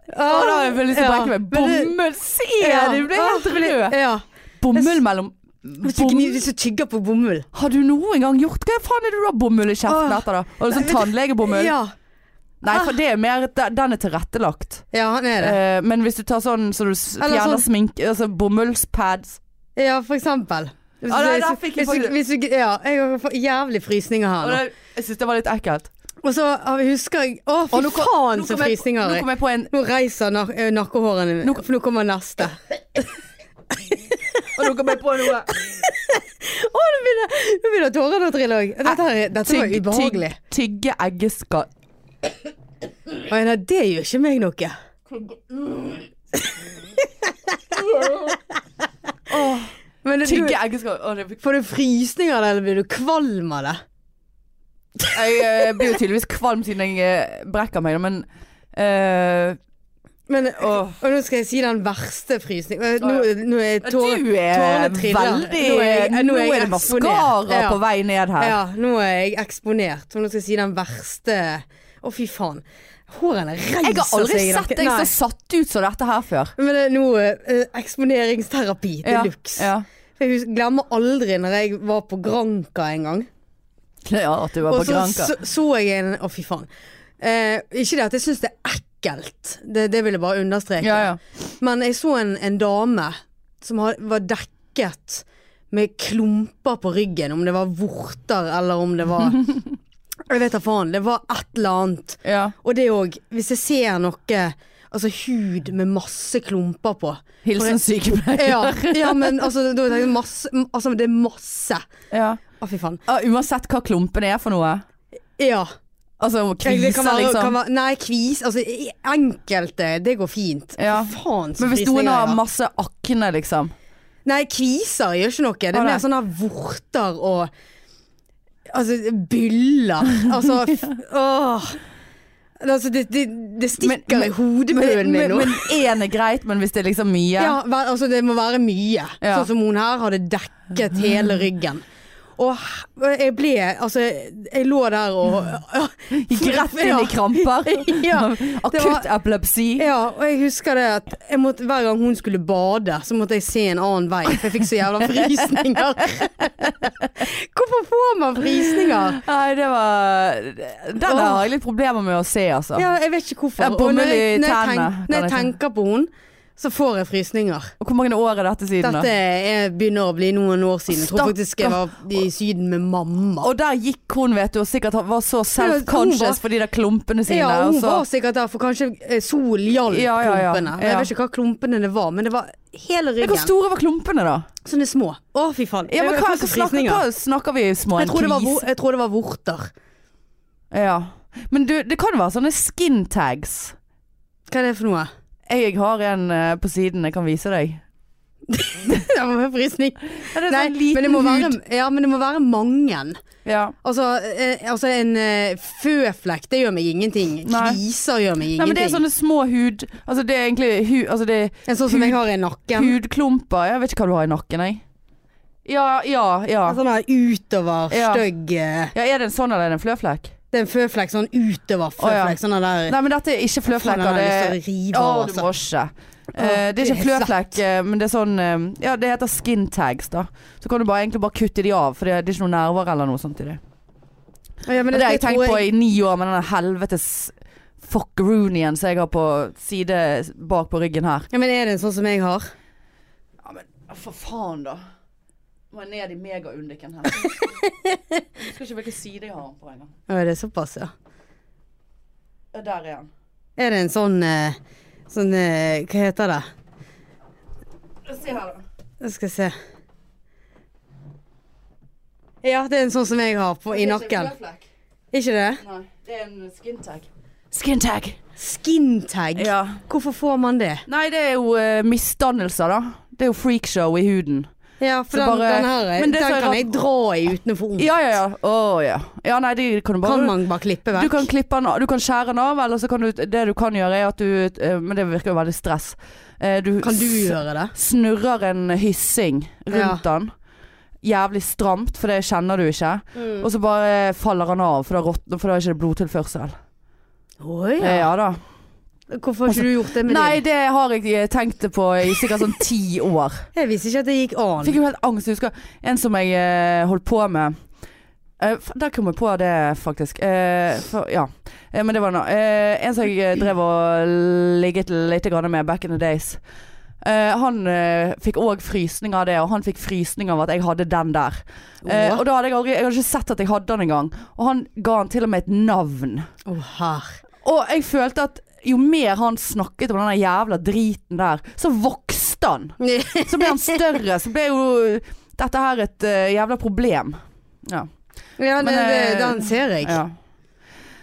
Speaker 1: Og da har jeg lyst til å
Speaker 2: Ja.
Speaker 1: brekke meg.
Speaker 2: Men det-
Speaker 1: Bomull, se! Du ble helt rød.
Speaker 2: Ja.
Speaker 1: Bomull mellom
Speaker 2: eh, Hvis du
Speaker 1: Bom-
Speaker 2: gnir- hvis du tygger på bomull.
Speaker 1: Har du noen gang gjort Hva faen er det du har bomull i kjeften
Speaker 2: Åh.
Speaker 1: etter, da? Og sånn tannlegebomull?
Speaker 2: Ah. Ja. Ah.
Speaker 1: Nei, for det er mer de- Den er tilrettelagt.
Speaker 2: ja, han er det.
Speaker 1: Eh, men hvis du tar sånn så du s-
Speaker 2: Eller
Speaker 1: fjerner
Speaker 2: sånn-
Speaker 1: sminke Altså bomullspads
Speaker 2: Ja, for eksempel. Hvis,
Speaker 1: Ja, nei,
Speaker 2: du-
Speaker 1: der fikk jeg
Speaker 2: hvis, du- hvis, du- ja, jeg får jævlig frysninger her
Speaker 1: Og
Speaker 2: nå.
Speaker 1: det, Jeg syns det var litt ekkelt.
Speaker 2: Og så har vi- husker jeg Å, fy
Speaker 1: Og nå kom-
Speaker 2: faen,
Speaker 1: nå
Speaker 2: så
Speaker 1: kom jeg-
Speaker 2: frysninger
Speaker 1: Nå
Speaker 2: jeg
Speaker 1: kom jeg på en
Speaker 2: Nå reiser nar eh, nakkehårene mine, for nå kommer neste.
Speaker 1: Og nå kom jeg på noe.
Speaker 2: Å, nå begynner, nå begynner tårene å trille òg. Dette, her- dette var
Speaker 1: Tygg-
Speaker 2: ubehagelig.
Speaker 1: tygg- Tygge eggeskall.
Speaker 2: Å, nei, det gjør ikke meg noe.
Speaker 1: Åh,
Speaker 2: Men du,
Speaker 1: Tygge eggeskall. Åh, det fikk
Speaker 2: får du frysninger av det, eller blir du kvalm av det?
Speaker 1: Jeg eh, blir jo tydeligvis kvalm siden jeg eh, brekker meg, da, men eh,
Speaker 2: Men,
Speaker 1: Åh.
Speaker 2: Og nå skal jeg si den verste frysningen. Nå, nå er
Speaker 1: Du
Speaker 2: tårer
Speaker 1: er
Speaker 2: tårene
Speaker 1: veldig
Speaker 2: triller. Nå er jeg- nå er
Speaker 1: Nå er
Speaker 2: jeg
Speaker 1: det maskara
Speaker 2: eksponert.
Speaker 1: på vei ned her.
Speaker 2: Ja, nå er jeg eksponert. Og nå skal jeg si den verste Å, fy faen. Hårene reiser seg.
Speaker 1: Jeg har aldri
Speaker 2: i
Speaker 1: sett
Speaker 2: nakken.
Speaker 1: deg
Speaker 2: Nei.
Speaker 1: så satt ut som dette her før.
Speaker 2: Men det er noe eh, eksponeringsterapi de
Speaker 1: Ja,
Speaker 2: luxe.
Speaker 1: Ja.
Speaker 2: Jeg hus- glemmer aldri når jeg var på Granka en gang.
Speaker 1: ja, at du var
Speaker 2: Og
Speaker 1: på
Speaker 2: så
Speaker 1: Granka.
Speaker 2: så, så jeg en Å, fy faen. Eh, ikke det at jeg syns det er ekkelt, det, det vil jeg bare understreke.
Speaker 1: Ja, ja.
Speaker 2: Men jeg så en, en dame som har, var dekket med klumper på ryggen, om det var vorter eller om det var Jeg vet da faen. Det var et eller annet.
Speaker 1: ja.
Speaker 2: Og det òg. Hvis jeg ser noe altså, hud med masse klumper på.
Speaker 1: Hilsen sykepleier.
Speaker 2: Ja, ja men altså, da tenker jeg masse, altså det er masse.
Speaker 1: Ja.
Speaker 2: Å, fy faen.
Speaker 1: Ah, uansett hva klumpen er for noe.
Speaker 2: Ja.
Speaker 1: Altså
Speaker 2: Det kan
Speaker 1: kviser,
Speaker 2: være, kan
Speaker 1: liksom.
Speaker 2: være, nei, kvis. Altså, i- enkelte. Det går fint.
Speaker 1: Ja.
Speaker 2: Faen, så
Speaker 1: Men hvis
Speaker 2: frysninger
Speaker 1: noen
Speaker 2: jeg
Speaker 1: har
Speaker 2: har.
Speaker 1: masse akne, liksom.
Speaker 2: Nei, kviser gjør ikke noe. Det
Speaker 1: Å,
Speaker 2: er
Speaker 1: nei.
Speaker 2: mer sånne vorter og Altså, byller. Altså, f åh. Altså, det, det, det
Speaker 1: Men-
Speaker 2: stikker
Speaker 1: men-
Speaker 2: i hodebunnen min nå.
Speaker 1: Men én er greit, men hvis det er liksom mye
Speaker 2: Ja, vel, altså det må være mye.
Speaker 1: Ja.
Speaker 2: Sånn som hun her hadde dekket hele ryggen. Og h- jeg ble Altså, jeg lå der og
Speaker 1: Gikk rett inn i kramper.
Speaker 2: Ja. det var-
Speaker 1: Akutt epilepsi.
Speaker 2: Ja, og jeg husker det at jeg måtte, hver gang hun skulle bade, så måtte jeg se en annen vei, for jeg fikk så jævla frysninger. Hvorfor får man frysninger?
Speaker 1: Nei, det var Den
Speaker 2: Åh.
Speaker 1: har jeg litt problemer med å se, altså.
Speaker 2: Ja, jeg vet ikke hvorfor.
Speaker 1: Ja,
Speaker 2: Og
Speaker 1: bomull
Speaker 2: når
Speaker 1: i
Speaker 2: jeg- når jeg
Speaker 1: tennene,
Speaker 2: tenk- Når
Speaker 1: kan jeg
Speaker 2: jeg
Speaker 1: si.
Speaker 2: tenker på hun, så får jeg frysninger.
Speaker 1: Og Hvor mange år er dette siden?
Speaker 2: Dette
Speaker 1: da?
Speaker 2: er, begynner å bli noen år siden. Jeg tror
Speaker 1: Stakkar.
Speaker 2: faktisk jeg var i Syden med mamma.
Speaker 1: Og der gikk hun, vet du, og sikkert var så
Speaker 2: Ja, hun
Speaker 1: self-conscious
Speaker 2: var-
Speaker 1: for de der klumpene sine.
Speaker 2: Ja, hun
Speaker 1: og så,
Speaker 2: var sikkert der, altså. for kanskje eh, sol hjalp
Speaker 1: Ja, ja, ja.
Speaker 2: klumpene. Men
Speaker 1: Ja.
Speaker 2: Jeg vet ikke hva klumpene det var, men det var hele
Speaker 1: Men Hvor
Speaker 2: ryggen.
Speaker 1: store var klumpene, da?
Speaker 2: Sånne små. Å, fy faen.
Speaker 1: Ja, men
Speaker 2: Jeg
Speaker 1: hva,
Speaker 2: får
Speaker 1: hva,
Speaker 2: så
Speaker 1: snakker,
Speaker 2: frysninger.
Speaker 1: hva snakker vi små? En
Speaker 2: jeg, tror det var,
Speaker 1: kvise?
Speaker 2: vo- jeg tror det var vorter.
Speaker 1: Ja. Men du, det kan være sånne skin tags.
Speaker 2: Hva er det for noe?
Speaker 1: Jeg har en eh, på siden jeg kan vise deg.
Speaker 2: det var en frysning.
Speaker 1: Ja, det er
Speaker 2: Nei,
Speaker 1: sånn
Speaker 2: men det, må være, ja, men det må være mange.
Speaker 1: Ja.
Speaker 2: Altså, eh, altså en eh, føflekk, det gjør meg ingenting.
Speaker 1: Nei.
Speaker 2: Kviser gjør meg
Speaker 1: Nei, men det er sånn
Speaker 2: ingenting.
Speaker 1: sånne små hud... Altså det er egentlig hu, altså det er
Speaker 2: En sånn som jeg har i nakken.
Speaker 1: hudklumper. Jeg vet ikke hva du har i nakken, jeg. Ja, ja, ja.
Speaker 2: Sånn her utover,
Speaker 1: Ja.
Speaker 2: stygg eh,
Speaker 1: Ja, Er det en sånn eller er det en fløflekk?
Speaker 2: Det er en føflekk, sånn utover
Speaker 1: Å, ja.
Speaker 2: føflekk. Sånn der
Speaker 1: Nei, men dette er ikke
Speaker 2: Faen, den
Speaker 1: fløflekker.
Speaker 2: har
Speaker 1: Det
Speaker 2: jeg
Speaker 1: er
Speaker 2: lyst til å rive
Speaker 1: Å,
Speaker 2: av,
Speaker 1: du
Speaker 2: altså.
Speaker 1: må ikke. Eh, det er ikke
Speaker 2: det er
Speaker 1: fløflekk, eh, men det er sånn eh, Ja, det heter skin tags, da. Så kan du bare, egentlig bare kutte de av, for det, det er ikke noen nerver eller noe sånt i det.
Speaker 2: Ja, men
Speaker 1: Og det har jeg
Speaker 2: tror
Speaker 1: tenkt på i ni år med den helvetes fuckeroonien som jeg har på side bak på ryggen her.
Speaker 2: Ja, men er det en sånn som jeg har?
Speaker 1: Ja, men for faen, da. Må jeg ned i megaundiken her. Jeg husker ikke hvilken side jeg har den på engang.
Speaker 2: Ja, det er såpass, ja.
Speaker 1: Ja, der er han.
Speaker 2: Er det en sånn eh, Sånn eh, Hva heter det?
Speaker 1: Se her, da.
Speaker 2: Jeg skal se. Ja, det er en sånn som jeg har på, i nakken. Ikke det?
Speaker 1: Nei, det er en skin tag. Skin tag.
Speaker 2: Skintag.
Speaker 1: Ja.
Speaker 2: Hvorfor får man det?
Speaker 1: Nei, det er jo eh, misdannelser, da. Det er jo freakshow i huden.
Speaker 2: Ja, for
Speaker 1: Så
Speaker 2: den,
Speaker 1: bare-
Speaker 2: den her
Speaker 1: Men det
Speaker 2: den
Speaker 1: som er
Speaker 2: kan
Speaker 1: rart-
Speaker 2: jeg dra i uten å få vondt.
Speaker 1: Ja, ja, ja. Å, ja. Ja, nei, det kan du bare
Speaker 2: Kan man bare klippe
Speaker 1: Du
Speaker 2: vekk?
Speaker 1: kan klippe den av, du kan skjære den av, eller så kan du Det du kan gjøre, er at du eh, Men det virker jo veldig stress. Eh, Du,
Speaker 2: Kan du
Speaker 1: s-
Speaker 2: gjøre det?
Speaker 1: snurrer en hyssing rundt den. Jævlig stramt, for det kjenner du ikke.
Speaker 2: Mm.
Speaker 1: Og så bare faller han av, for da råtner, for da er ikke det blodtilførsel.
Speaker 2: Oi,
Speaker 1: Eh,
Speaker 2: ja.
Speaker 1: Ja da.
Speaker 2: Hvorfor har ikke du gjort det med
Speaker 1: Nei,
Speaker 2: din?
Speaker 1: det har jeg eh, tenkt på i sikkert sånn ti år.
Speaker 2: Jeg visste ikke at det gikk an.
Speaker 1: Fikk jo helt angst. Jeg husker en som jeg eh, holdt på med. Eh, f- der kom jeg på det, faktisk. Eh, for, ja. Eh, men det var nå. Eh, en som jeg eh, drev og ligget litt grann med back in the days. Eh, han eh, fikk òg frysning av det, og han fikk frysning av at jeg hadde den der. Eh,
Speaker 2: Åh.
Speaker 1: og da hadde jeg aldri Jeg hadde ikke sett at jeg hadde den engang. Og han ga han til og med et navn.
Speaker 2: Å, her.
Speaker 1: Og jeg følte at jo mer han snakket om den der jævla driten der, så vokste han. Så ble han større, så ble jo dette her et eh, jævla problem. Ja.
Speaker 2: Ja,
Speaker 1: Men,
Speaker 2: det, det,
Speaker 1: eh,
Speaker 2: den ser jeg.
Speaker 1: ja.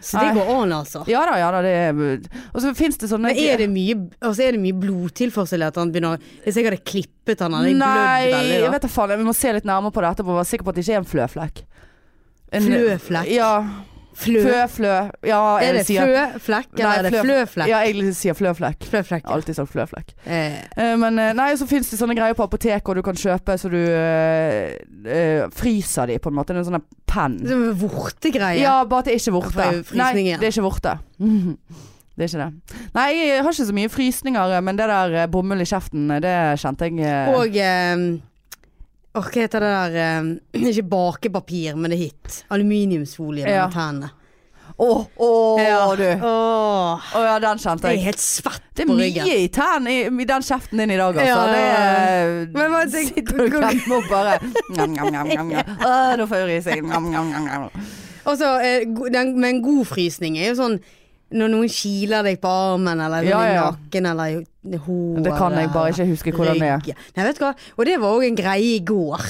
Speaker 2: Så det
Speaker 1: Nei.
Speaker 2: går an, altså.
Speaker 1: ja da, ja da. Det er, og så fins det sånne
Speaker 2: Men er det mye, altså er det mye blodtilførsel at han begynner Hvis jeg hadde klippet han, hadde jeg
Speaker 1: Nei,
Speaker 2: blødd veldig
Speaker 1: jeg
Speaker 2: da.
Speaker 1: vet da faen. Vi må se litt nærmere på det etterpå. Være sikker på at det ikke er en fløflekk. En-
Speaker 2: Fløflekk?
Speaker 1: Ja.
Speaker 2: Flø.
Speaker 1: Fø-flø. Ja,
Speaker 2: Er det
Speaker 1: jeg sier-
Speaker 2: fløflekk,
Speaker 1: Nei,
Speaker 2: eller er det fløflekk?
Speaker 1: Ja, jeg sier fløflekk.
Speaker 2: Fløflekk. ja.
Speaker 1: Alltid sagt fløflekk.
Speaker 2: Eh,
Speaker 1: Eh, Men eh, nei, så finnes det sånne greier på apoteket Og du kan kjøpe så du eh, eh, fryser de på en måte. Det er En sånn der penn.
Speaker 2: det er vortegreie.
Speaker 1: Ja, bare at det er ikke
Speaker 2: Da
Speaker 1: vorte.
Speaker 2: får jeg jo
Speaker 1: Nei,
Speaker 2: frysning igjen.
Speaker 1: det er ikke vorte. Det er ikke det. Nei, jeg har ikke så mye frysninger, men det der eh, bomull i kjeften, eh, det kjente jeg eh,
Speaker 2: Og eh, åh, Hva heter det der eh, Ikke bakepapir, men det er hit. Aluminiumsfolie
Speaker 1: Ja.
Speaker 2: med tennene.
Speaker 1: Å, å,
Speaker 2: Ja.
Speaker 1: du.
Speaker 2: Åh,
Speaker 1: Å ja, den kjente
Speaker 2: jeg er
Speaker 1: jeg.
Speaker 2: helt svett
Speaker 1: Det er
Speaker 2: på
Speaker 1: mye
Speaker 2: ryggen.
Speaker 1: i tærne i, i den kjeften din i dag, altså.
Speaker 2: Ja, ja, ja.
Speaker 1: Det
Speaker 2: Men hva
Speaker 1: er
Speaker 2: tenk-
Speaker 1: Sitter du og klemmer opp bare Njam, njam, njam, njam, njam. Å, nå får jeg rysing. Njam, njam, njam, njam.
Speaker 2: altså, Og så, eh, go- den- Men god frysning er jo sånn når noen kiler deg på armen eller
Speaker 1: Ja,
Speaker 2: ja,
Speaker 1: ja.
Speaker 2: nakken eller i hodet.
Speaker 1: Det kan jeg bare ikke huske hvordan det er.
Speaker 2: Nei, vet du hva. Og det var òg en greie i går.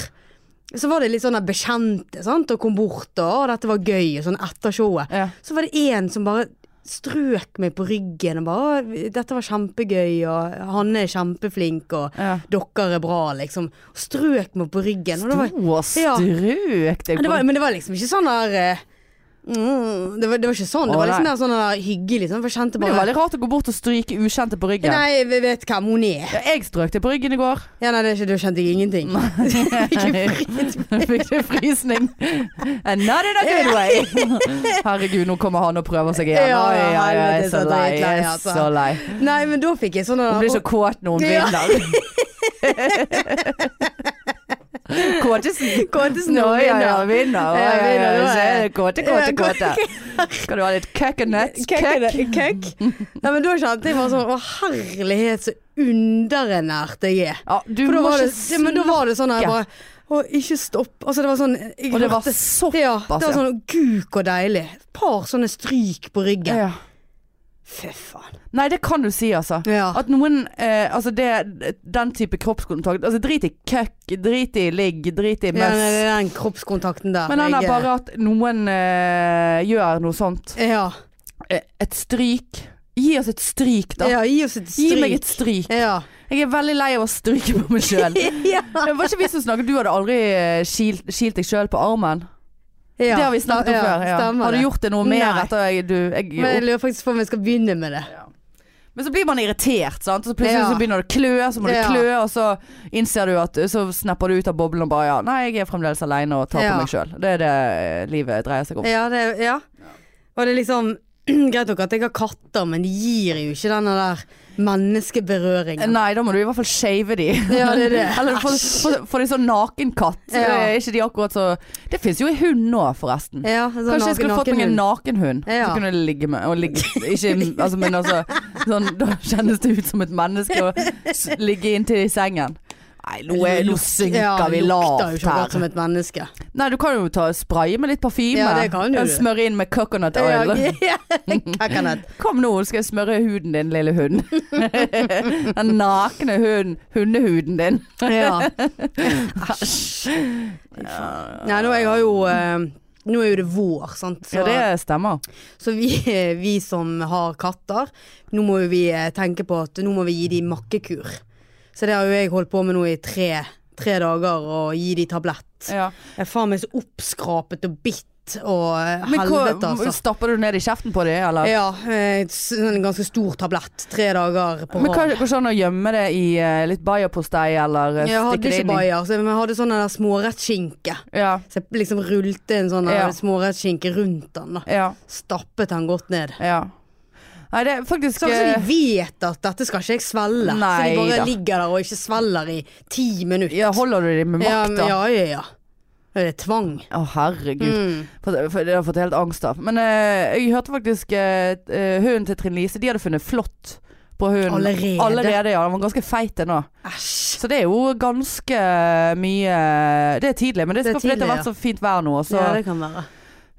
Speaker 2: Så var det litt sånne bekjente sant? og kom bort og «Å, dette var gøy, og sånn etter showet.
Speaker 1: Ja.
Speaker 2: Så var det en som bare strøk meg på ryggen og bare «Å, 'Dette var kjempegøy', og 'Hanne er kjempeflink', og
Speaker 1: Ja.
Speaker 2: 'Dere er bra', liksom. Strøk meg på ryggen. Og det var,
Speaker 1: Sto og
Speaker 2: Ja.
Speaker 1: strøk deg
Speaker 2: men det
Speaker 1: på
Speaker 2: var, men det var liksom ikke sånn der eh, mm, det, var, det var ikke sånn.
Speaker 1: Å,
Speaker 2: Det var liksom
Speaker 1: nei.
Speaker 2: der, sånn der hyggelig. Sånn, for jeg kjente
Speaker 1: Men det
Speaker 2: bare
Speaker 1: er veldig rart å gå bort og stryke ukjente på ryggen.
Speaker 2: Nei, vi vet hvem hun er.
Speaker 1: Ja, jeg strøk deg på ryggen i går.
Speaker 2: Ja, nei, det er ikke, Da kjente jeg ingenting. Ikke fri-
Speaker 1: Fikk du frysning? Eh, And not in a good way. Herregud, nå kommer han og prøver seg igjen.
Speaker 2: Ja,
Speaker 1: Oi, oi, oi, jeg er
Speaker 2: helvete,
Speaker 1: så
Speaker 2: så
Speaker 1: lei. Jeg
Speaker 2: dritlei,
Speaker 1: er
Speaker 2: altså.
Speaker 1: så lei.
Speaker 2: nei, men da fikk jeg sånn
Speaker 1: Hun blir så kåt når hun
Speaker 2: Ja.
Speaker 1: vinner. Kåtesen.
Speaker 2: Kåtesen
Speaker 1: Nå,
Speaker 2: hun
Speaker 1: ja, ja,
Speaker 2: vinner.
Speaker 1: vinner. Å,
Speaker 2: Ja,
Speaker 1: ja, ja,
Speaker 2: vinner, nå
Speaker 1: Så
Speaker 2: er
Speaker 1: er det kåte,
Speaker 2: Ja,
Speaker 1: kåte, kåte.
Speaker 2: kåte.
Speaker 1: Skal du ha litt coconuts?
Speaker 2: Køkk. Køkk. Nei, men da kjente jeg bare sånn Å herlighet, så underernært jeg er.
Speaker 1: Ja, du
Speaker 2: For da
Speaker 1: må
Speaker 2: var
Speaker 1: ikke
Speaker 2: det, det, men da var det sånn her
Speaker 1: snakke.
Speaker 2: bare Å, ikke stopp. Altså, det var sånn jeg
Speaker 1: Og det var altså.
Speaker 2: hørte-
Speaker 1: såpass,
Speaker 2: Ja, det var
Speaker 1: ja.
Speaker 2: sånn gud, hvor deilig. Et par sånne stryk på ryggen.
Speaker 1: Ja.
Speaker 2: Fy faen.
Speaker 1: Nei, det kan du si, altså.
Speaker 2: Ja.
Speaker 1: At noen eh, Altså, det, den type kroppskontakt Altså, drit i køkk, drit i ligg, drit i
Speaker 2: Ja,
Speaker 1: møss.
Speaker 2: nei, det er den kroppskontakten der.
Speaker 1: Men den er
Speaker 2: jeg-
Speaker 1: bare at noen eh, gjør noe sånt.
Speaker 2: ja.
Speaker 1: Eh, Et stryk. Gi oss et stryk, da.
Speaker 2: ja, gi oss et
Speaker 1: Gi
Speaker 2: stryk.
Speaker 1: meg et stryk.
Speaker 2: Ja.
Speaker 1: Jeg er veldig lei av å stryke på meg sjøl.
Speaker 2: ja.
Speaker 1: Det var ikke vi som snakket, du hadde aldri eh, kilt, kilt deg sjøl på armen.
Speaker 2: Ja,
Speaker 1: Det har vi snakket om
Speaker 2: ja,
Speaker 1: før. Ja.
Speaker 2: Stemmer
Speaker 1: Har du
Speaker 2: det.
Speaker 1: gjort det noe mer
Speaker 2: Nei.
Speaker 1: etter jeg, du jeg,
Speaker 2: Men jeg lurer faktisk på om jeg skal begynne med det.
Speaker 1: Men så blir man irritert, sant. Så plutselig
Speaker 2: Ja.
Speaker 1: så begynner det å klø, så må det
Speaker 2: Ja.
Speaker 1: klø, og så innser du at Så snapper du ut av boblen og bare ja, nei, jeg er fremdeles aleine og tar
Speaker 2: Ja.
Speaker 1: på meg sjøl. Det er det livet dreier seg om.
Speaker 2: Ja, det, ja. Og det er liksom Greit nok at jeg har katter, men de gir jo ikke denne der menneskeberøringen.
Speaker 1: Nei, da må du i hvert fall shave de.
Speaker 2: Ja, det er det.
Speaker 1: Eller få- få få deg sånn nakenkatt.
Speaker 2: Ja.
Speaker 1: Det Er ikke de akkurat så Det fins jo i hund nå, forresten.
Speaker 2: Ja, sånn
Speaker 1: Kanskje jeg skulle fått meg en
Speaker 2: nakenhund.
Speaker 1: nakenhund.
Speaker 2: Ja.
Speaker 1: Så kunne jeg ligge med og ligge, Ikke altså, men altså sånn, Da kjennes det ut som et menneske å s- ligge inntil i sengen. Nei, nå, er, eh, nå synker
Speaker 2: Ja,
Speaker 1: vi
Speaker 2: Lukter jo
Speaker 1: lavt
Speaker 2: ikke
Speaker 1: her.
Speaker 2: godt som et menneske.
Speaker 1: Nei, du kan jo ta spraye med litt parfyme.
Speaker 2: Ja, det kan du.
Speaker 1: Smøre inn med coconut oil.
Speaker 2: Ja, Kakkanett.
Speaker 1: Kom nå, skal jeg smøre huden din, lille hund. Den nakne hunden, hundehuden din.
Speaker 2: Ja. Nei, nå jeg har jo eh, Nå er jo det vår, sant. Så,
Speaker 1: Ja, det stemmer.
Speaker 2: så vi, vi som har katter, nå må jo vi eh, tenke på at nå må vi gi dem makkekur. Så det har jo jeg holdt på med nå i tre, tre dager, og gi dem tablett.
Speaker 1: Ja.
Speaker 2: Jeg er faen meg så oppskrapet og bitt og eh,
Speaker 1: Men hva,
Speaker 2: helvete, altså.
Speaker 1: stapper du ned i kjeften på dem, eller?
Speaker 2: Ja, eh, s- en ganske stor tablett. Tre dager på
Speaker 1: Men hva,
Speaker 2: rad.
Speaker 1: går det an å gjemme det i eh, litt baierpostei, eller eh,
Speaker 2: Jeg hadde
Speaker 1: stikke det
Speaker 2: ikke
Speaker 1: inn i
Speaker 2: bayer, så- men jeg hadde sånn smårettskinke.
Speaker 1: Ja,
Speaker 2: Så jeg liksom rullte en sånn
Speaker 1: Ja.
Speaker 2: ja. smårettskinke rundt den. da
Speaker 1: ja,
Speaker 2: Stappet den godt ned.
Speaker 1: ja. Nei, det er faktisk
Speaker 2: Sånn at
Speaker 1: eh,
Speaker 2: de vet at dette skal ikke jeg svelge. så
Speaker 1: Nei
Speaker 2: de bare
Speaker 1: da.
Speaker 2: ligger der og ikke svelger i ti minutter.
Speaker 1: ja, Holder du dem med
Speaker 2: ja,
Speaker 1: makt,
Speaker 2: men-
Speaker 1: da?
Speaker 2: ja, ja, ja. Det er tvang.
Speaker 1: Å, herregud.
Speaker 2: Mm.
Speaker 1: For, for, jeg har fått helt angst av. Men eh, jeg hørte faktisk eh, eh, hunden til Trine Lise. De hadde funnet flått på hunden.
Speaker 2: Allerede?
Speaker 1: Allerede, ja. Den var ganske feit ennå.
Speaker 2: Æsj.
Speaker 1: Så det er jo ganske mye eh, Det er tidlig, men det
Speaker 2: Det er
Speaker 1: skal fordi det har
Speaker 2: tidlig,
Speaker 1: vært så fint vær nå. Så
Speaker 2: Ja, det kan være.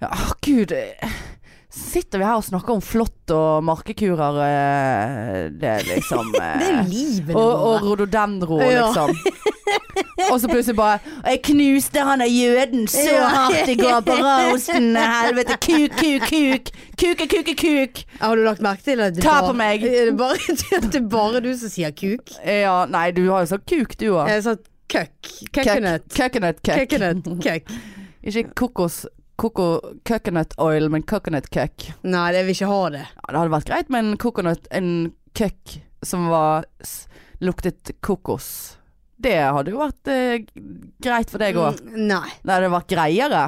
Speaker 1: Ja, åh, gud. eh, Sitter vi her og snakker om flått og markekurer eh, Det er liksom eh,
Speaker 2: Det er jo livet
Speaker 1: og, og
Speaker 2: vårt.
Speaker 1: rododendro,
Speaker 2: Ja.
Speaker 1: liksom. Og så plutselig bare Jeg knuste han av jøden så
Speaker 2: Ja.
Speaker 1: hardt i går på rosen. Helvete. Kuk, kuk, kuk. Kuke, kuke, kuk.
Speaker 2: Har du lagt merke til at det
Speaker 1: Ta
Speaker 2: bare-
Speaker 1: på meg.
Speaker 2: Er det bare, det er bare du som sier kuk?
Speaker 1: Ja, nei, du har jo sagt kuk, du òg.
Speaker 2: Jeg sa køkk. Køkkenøtt.
Speaker 1: Coconut cake.
Speaker 2: Køkkenøtt. Køkk.
Speaker 1: Ikke kokos koko, coconut oil, men coconut cake.
Speaker 2: Nei, jeg vil ikke ha det.
Speaker 1: Ja, det hadde vært greit med en coconut, en køkk som var, s- luktet kokos. Det hadde jo vært eh, greit for deg òg.
Speaker 2: Mm, Nei.
Speaker 1: Det hadde vært greiere.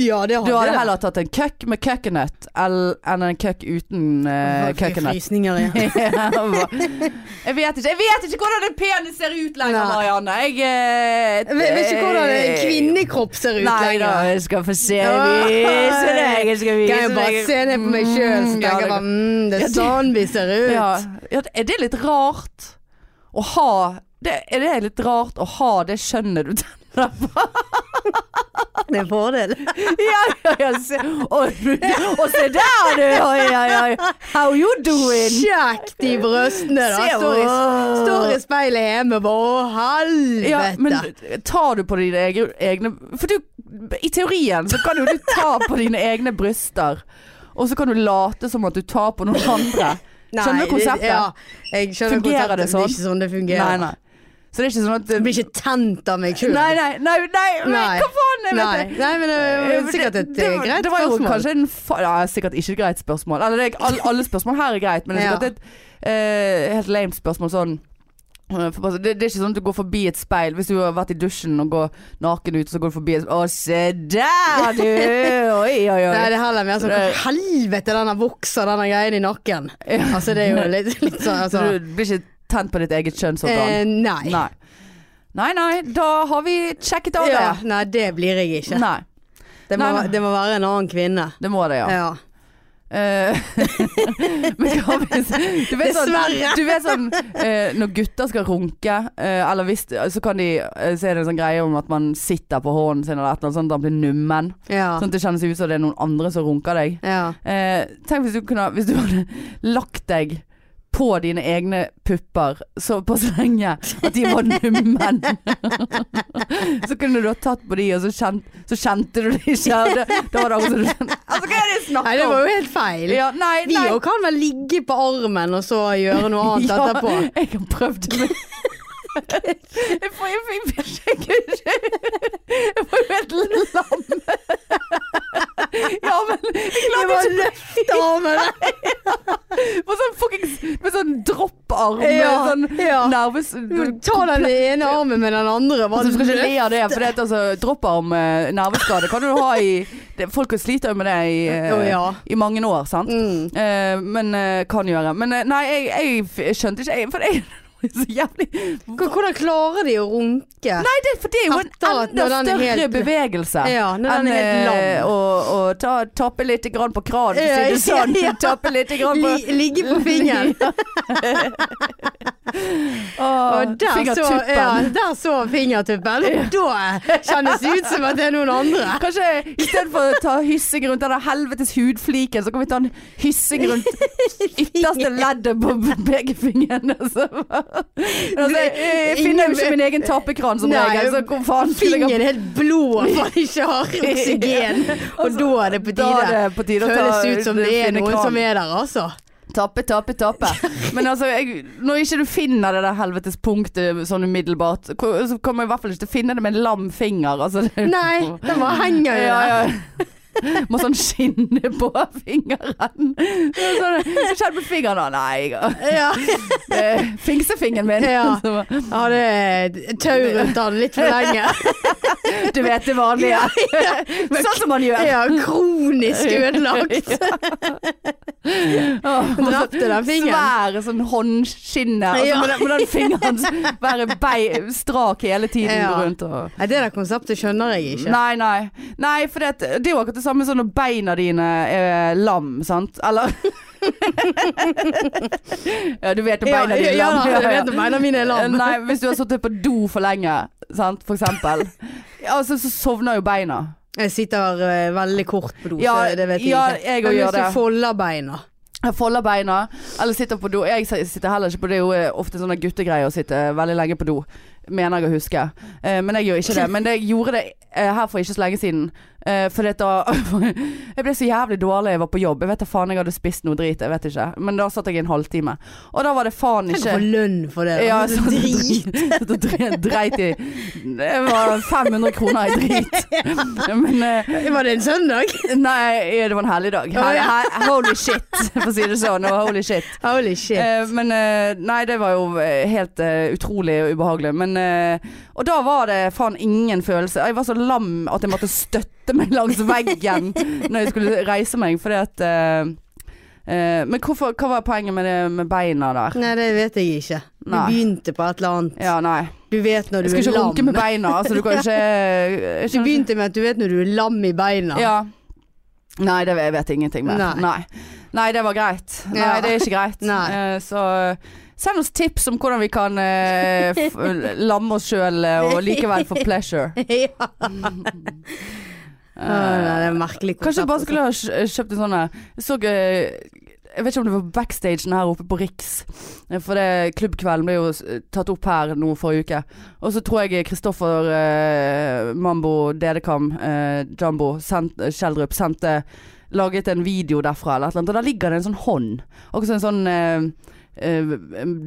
Speaker 2: Ja, det har
Speaker 1: Du hadde
Speaker 2: det.
Speaker 1: heller tatt en køkk med coconut el- enn en køkk uten uh,
Speaker 2: Jeg fikk
Speaker 1: coconut.
Speaker 2: Frysninger igjen.
Speaker 1: jeg vet ikke Jeg vet ikke hvordan en penis ser ut lenger,
Speaker 2: Nei.
Speaker 1: Marianne. Jeg eh,
Speaker 2: Jeg vet ikke hvordan en kvinnekropp ser ut
Speaker 1: Nei da,
Speaker 2: lenger.
Speaker 1: jeg skal få se. Vise deg. Jeg skal
Speaker 2: Kan
Speaker 1: vise
Speaker 2: jeg bare
Speaker 1: deg.
Speaker 2: se ned på meg sjøl, så
Speaker 1: Mm, ja,
Speaker 2: tenker
Speaker 1: det
Speaker 2: jeg bare mm, det
Speaker 1: Ja,
Speaker 2: er
Speaker 1: det-
Speaker 2: sånn vi ser ut.
Speaker 1: Ja, ja, er det litt rart å ha det, Er det litt rart å ha det skjønnet du tenner?
Speaker 2: Det er en fordel.
Speaker 1: Ja, ja, ja. Se. Og, og se der, du! Oi, oi, oi. How you doing?
Speaker 2: Kjekt i brøstene, da.
Speaker 1: Se,
Speaker 2: Står i,
Speaker 1: wow.
Speaker 2: står i speilet hjemme og bare Å, helvete.
Speaker 1: Ja, men tar du på dine egne, egne For du, i teorien så kan jo du ta på dine egne bryster. Og så kan du late som at du tar på noen andre.
Speaker 2: Nei,
Speaker 1: Skjønner
Speaker 2: det-
Speaker 1: du konseptet?
Speaker 2: Ja, jeg skjønner
Speaker 1: Fungerer
Speaker 2: konseptet.
Speaker 1: det
Speaker 2: Det
Speaker 1: sånn?
Speaker 2: blir ikke sånn det
Speaker 1: Nei,
Speaker 2: fungerer.
Speaker 1: nei. Så det er ikke sånn at
Speaker 2: Jeg blir ikke tent av meg sjøl.
Speaker 1: Nei, nei, nei, nei,
Speaker 2: Nei.
Speaker 1: hva faen? Jeg
Speaker 2: Nei.
Speaker 1: vet det.
Speaker 2: nei, men det er sikkert et
Speaker 1: det,
Speaker 2: eh,
Speaker 1: var-
Speaker 2: greit
Speaker 1: det var jo
Speaker 2: spørsmål.
Speaker 1: Kanskje en fa ja, sikkert ikke et greit spørsmål. Eller det er, alle, alle spørsmål her er greit, men det er
Speaker 2: Ja.
Speaker 1: sikkert et eh, helt lame spørsmål sånn eh, for bare- det, det er ikke sånn at du går forbi et speil Hvis du har vært i dusjen og går naken ut Så går du forbi et Å, se der du Oi, oi,
Speaker 2: Nei,
Speaker 1: oi
Speaker 2: det er heller mer sånn
Speaker 1: Nei.
Speaker 2: Hvor helvete denne vokser, denne greien i nakken? Altså, det er jo litt, litt sånn
Speaker 1: Så
Speaker 2: altså.
Speaker 1: du blir ikke tent på ditt eget
Speaker 2: eh,
Speaker 1: kjønnsorgan
Speaker 2: Nei.
Speaker 1: sånn. Nei Nei, nei, da har vi sjekket av
Speaker 2: Ja,
Speaker 1: det
Speaker 2: nei, det blir jeg ikke.
Speaker 1: Nei,
Speaker 2: Det må,
Speaker 1: Nei, nei.
Speaker 2: det må være en annen kvinne.
Speaker 1: det må det, ja
Speaker 2: Ja.
Speaker 1: Eh, Men hva hvis Du vet sånn,
Speaker 2: Dessverre.
Speaker 1: du vet sånn eh, Når gutter skal runke, eh, eller hvis Så kan de eh, Så er det en sånn greie om at man sitter på hånden sin eller et eller annet sånt, da blir nummen.
Speaker 2: Ja.
Speaker 1: Sånn at det kjennes ut som det er noen andre som runker deg.
Speaker 2: ja.
Speaker 1: Eh, tenk hvis du kunne Hvis du hadde lagt deg på dine egne pupper såpass lenge at de var nummen. så kunne du ha tatt på de, og så, kjent, så kjente du det ikke. Det, det var det akkurat som du kjente Altså, hva er det jeg
Speaker 2: Nei,
Speaker 1: snakker
Speaker 2: det
Speaker 1: om?
Speaker 2: var jo helt feil.
Speaker 1: Ja, nei,
Speaker 2: Vi
Speaker 1: nei.
Speaker 2: òg kan vel ligge på armen og så gjøre noe annet
Speaker 1: Ja,
Speaker 2: etterpå.
Speaker 1: Jeg har prøvd det. men- Jeg får jeg fikk ikke Jeg får jo helt lam. Ja, men jeg
Speaker 2: Det
Speaker 1: klarte
Speaker 2: var
Speaker 1: ikke
Speaker 2: løft av armen.
Speaker 1: Med sånn fuckings Med sånn dropparm.
Speaker 2: Ja,
Speaker 1: med sånn
Speaker 2: ja.
Speaker 1: nerves...
Speaker 2: Ta den ene armen med den andre. Bare
Speaker 1: Altså, du skal ikke
Speaker 2: løft.
Speaker 1: le av det, for det er et, altså, dropparm eh, nerveskade kan du ha i det, Folk sliter jo med det i, eh,
Speaker 2: Å, ja.
Speaker 1: i mange år, sant?
Speaker 2: Mm.
Speaker 1: Eh, men eh, kan gjøre. Men eh, nei, jeg, jeg f- skjønte ikke jeg, For jeg er så jævlig
Speaker 2: Hvor- Hvordan klarer de å runke?
Speaker 1: Nei, det, for det er jo en
Speaker 2: Etter at
Speaker 1: enda
Speaker 2: når den er
Speaker 1: større
Speaker 2: helt-
Speaker 1: bevegelse
Speaker 2: Ja, når den er helt
Speaker 1: eh,
Speaker 2: lam.
Speaker 1: å, å ta, tappe litt grann på kranen, for
Speaker 2: Ja,
Speaker 1: å si det sånn.
Speaker 2: ja.
Speaker 1: Tappe litt grann på
Speaker 2: Li- ligge på fingeren.
Speaker 1: Å,
Speaker 2: Og der så,
Speaker 1: fingertuppen.
Speaker 2: ja, der så fingertuppen. Da kjennes det ut som at det er noen andre.
Speaker 1: Kanskje istedenfor å ta hyssing rundt den der helvetes hudfliken, så kan vi ta en hyssing rundt ytterste leddet på begge fingrene. Så. Altså, jeg, jeg finner jo ikke min egen tappekran som
Speaker 2: eh, Nei,
Speaker 1: regel, så hvor faen skulle jeg ha
Speaker 2: Fingeren er helt blå for at den ikke har oksygen. Og da er det på
Speaker 1: Altså, Da er
Speaker 2: tide.
Speaker 1: det på tide å ta
Speaker 2: Føles ut som det er
Speaker 1: finne
Speaker 2: noen
Speaker 1: kran.
Speaker 2: som er der, altså.
Speaker 1: Tappe, tappe, tappe. Men altså, jeg, når ikke du finner det der helvetes punktet sånn umiddelbart, ko- så kommer jeg i hvert fall ikke til å finne det med en lam finger. Altså, det,
Speaker 2: Nei, den bare henger jo
Speaker 1: ja,
Speaker 2: der.
Speaker 1: ja. Må sånn skinne på fingeren. Så Sånn, så skjedde med fingeren da. Nei,
Speaker 2: Ja.
Speaker 1: eh, fingsefingeren min.
Speaker 2: Ja.
Speaker 1: Så,
Speaker 2: Jeg hadde et tau rundt den litt for lenge.
Speaker 1: du vet det vanlige. Sånn som man gjør.
Speaker 2: Ja, kronisk ødelagt.
Speaker 1: Åh,
Speaker 2: Jeg Drepte den fingeren.
Speaker 1: Svære sånn håndskinne. Altså,
Speaker 2: Ja.
Speaker 1: med, den, med den fingeren være bei, strak hele tiden
Speaker 2: Ja.
Speaker 1: rundt og
Speaker 2: Nei, det der konseptet skjønner jeg ikke.
Speaker 1: Nei, nei. nei for det, det er jo akkurat det samme som når beina dine er lam, sant? Eller Ja, du vet om beina dine er
Speaker 2: ja,
Speaker 1: lam.
Speaker 2: ja, jeg vet når beina mine er lam.
Speaker 1: Nei, hvis du har sittet på do for lenge, sant, for eksempel. Altså, så sovner jo beina.
Speaker 2: Jeg sitter eh, veldig kort på do,
Speaker 1: Ja,
Speaker 2: så det vet jeg
Speaker 1: ja,
Speaker 2: ikke.
Speaker 1: jeg
Speaker 2: Men
Speaker 1: også gjør
Speaker 2: hvis
Speaker 1: det.
Speaker 2: du folder beina
Speaker 1: Jeg folder beina, eller sitter på do. Jeg sitter heller ikke på do, det er jo eh, ofte sånne guttegreier å sitte eh, veldig lenge på do. Mener jeg å huske. Eh, men jeg gjør ikke det. Men det, jeg gjorde det eh, her for ikke så lenge siden. Eh, for det da Jeg ble så jævlig dårlig jeg var på jobb. Jeg vet da faen jeg hadde spist noe drit, jeg vet ikke. Men da satt jeg i en halvtime. Og da var det faen
Speaker 2: Tenk å
Speaker 1: ikke
Speaker 2: få lønn for det. da.
Speaker 1: ja, sånn.
Speaker 2: Så drit.
Speaker 1: Satt og dre- dreit i Det var 500 kroner i drit. Men eh,
Speaker 2: Var det en søndag?
Speaker 1: Nei, ja, det var en helligdag.
Speaker 2: Å, ja.
Speaker 1: Hel- hel- Holy shit, for å si det sånn. Og holy shit.
Speaker 2: Holy shit.
Speaker 1: Eh, men eh, nei, det var jo eh, helt eh, utrolig og ubehagelig. Men, eh, og da var det faen ingen følelse. Jeg var så lam at jeg måtte støtte meg langs veggen når jeg skulle reise meg, fordi at eh, eh, Men hvorfor, hva var poenget med det med beina der?
Speaker 2: Nei, det vet jeg ikke. Du
Speaker 1: Nei.
Speaker 2: begynte på et eller annet.
Speaker 1: Ja, nei.
Speaker 2: Du vet når
Speaker 1: Jeg
Speaker 2: du
Speaker 1: skal
Speaker 2: er
Speaker 1: ikke runke
Speaker 2: lam.
Speaker 1: med beina, altså du kan ikke jeg
Speaker 2: Du
Speaker 1: skjønner ikke-
Speaker 2: begynte med at du vet når du er lam i beina.
Speaker 1: Ja. Nei, det jeg vet jeg ingenting mer.
Speaker 2: Nei.
Speaker 1: Nei. Nei, det var greit. Nei,
Speaker 2: Ja.
Speaker 1: det er ikke greit.
Speaker 2: Nei.
Speaker 1: Eh, Så, Send oss tips om hvordan vi kan eh, f lamme oss sjøl og likevel få pleasure. Eh,
Speaker 2: ja. Å, nei, det er merkelig
Speaker 1: Kanskje
Speaker 2: konsept,
Speaker 1: jeg bare skulle ha kj- kjøpt en sånn her. Jeg så eh, Jeg vet ikke om det var backstagen her oppe på Riks. Eh, For det, klubbkvelden ble jo s- eh, tatt opp her nå forrige uke. Og så tror jeg Kristoffer eh, Mambo Dedekam eh, Jumbo sendt, eh, Kjeldrup sendte Laget en video derfra eller et eller annet. Og der ligger det en sånn hånd. Også en sånn eh, eh,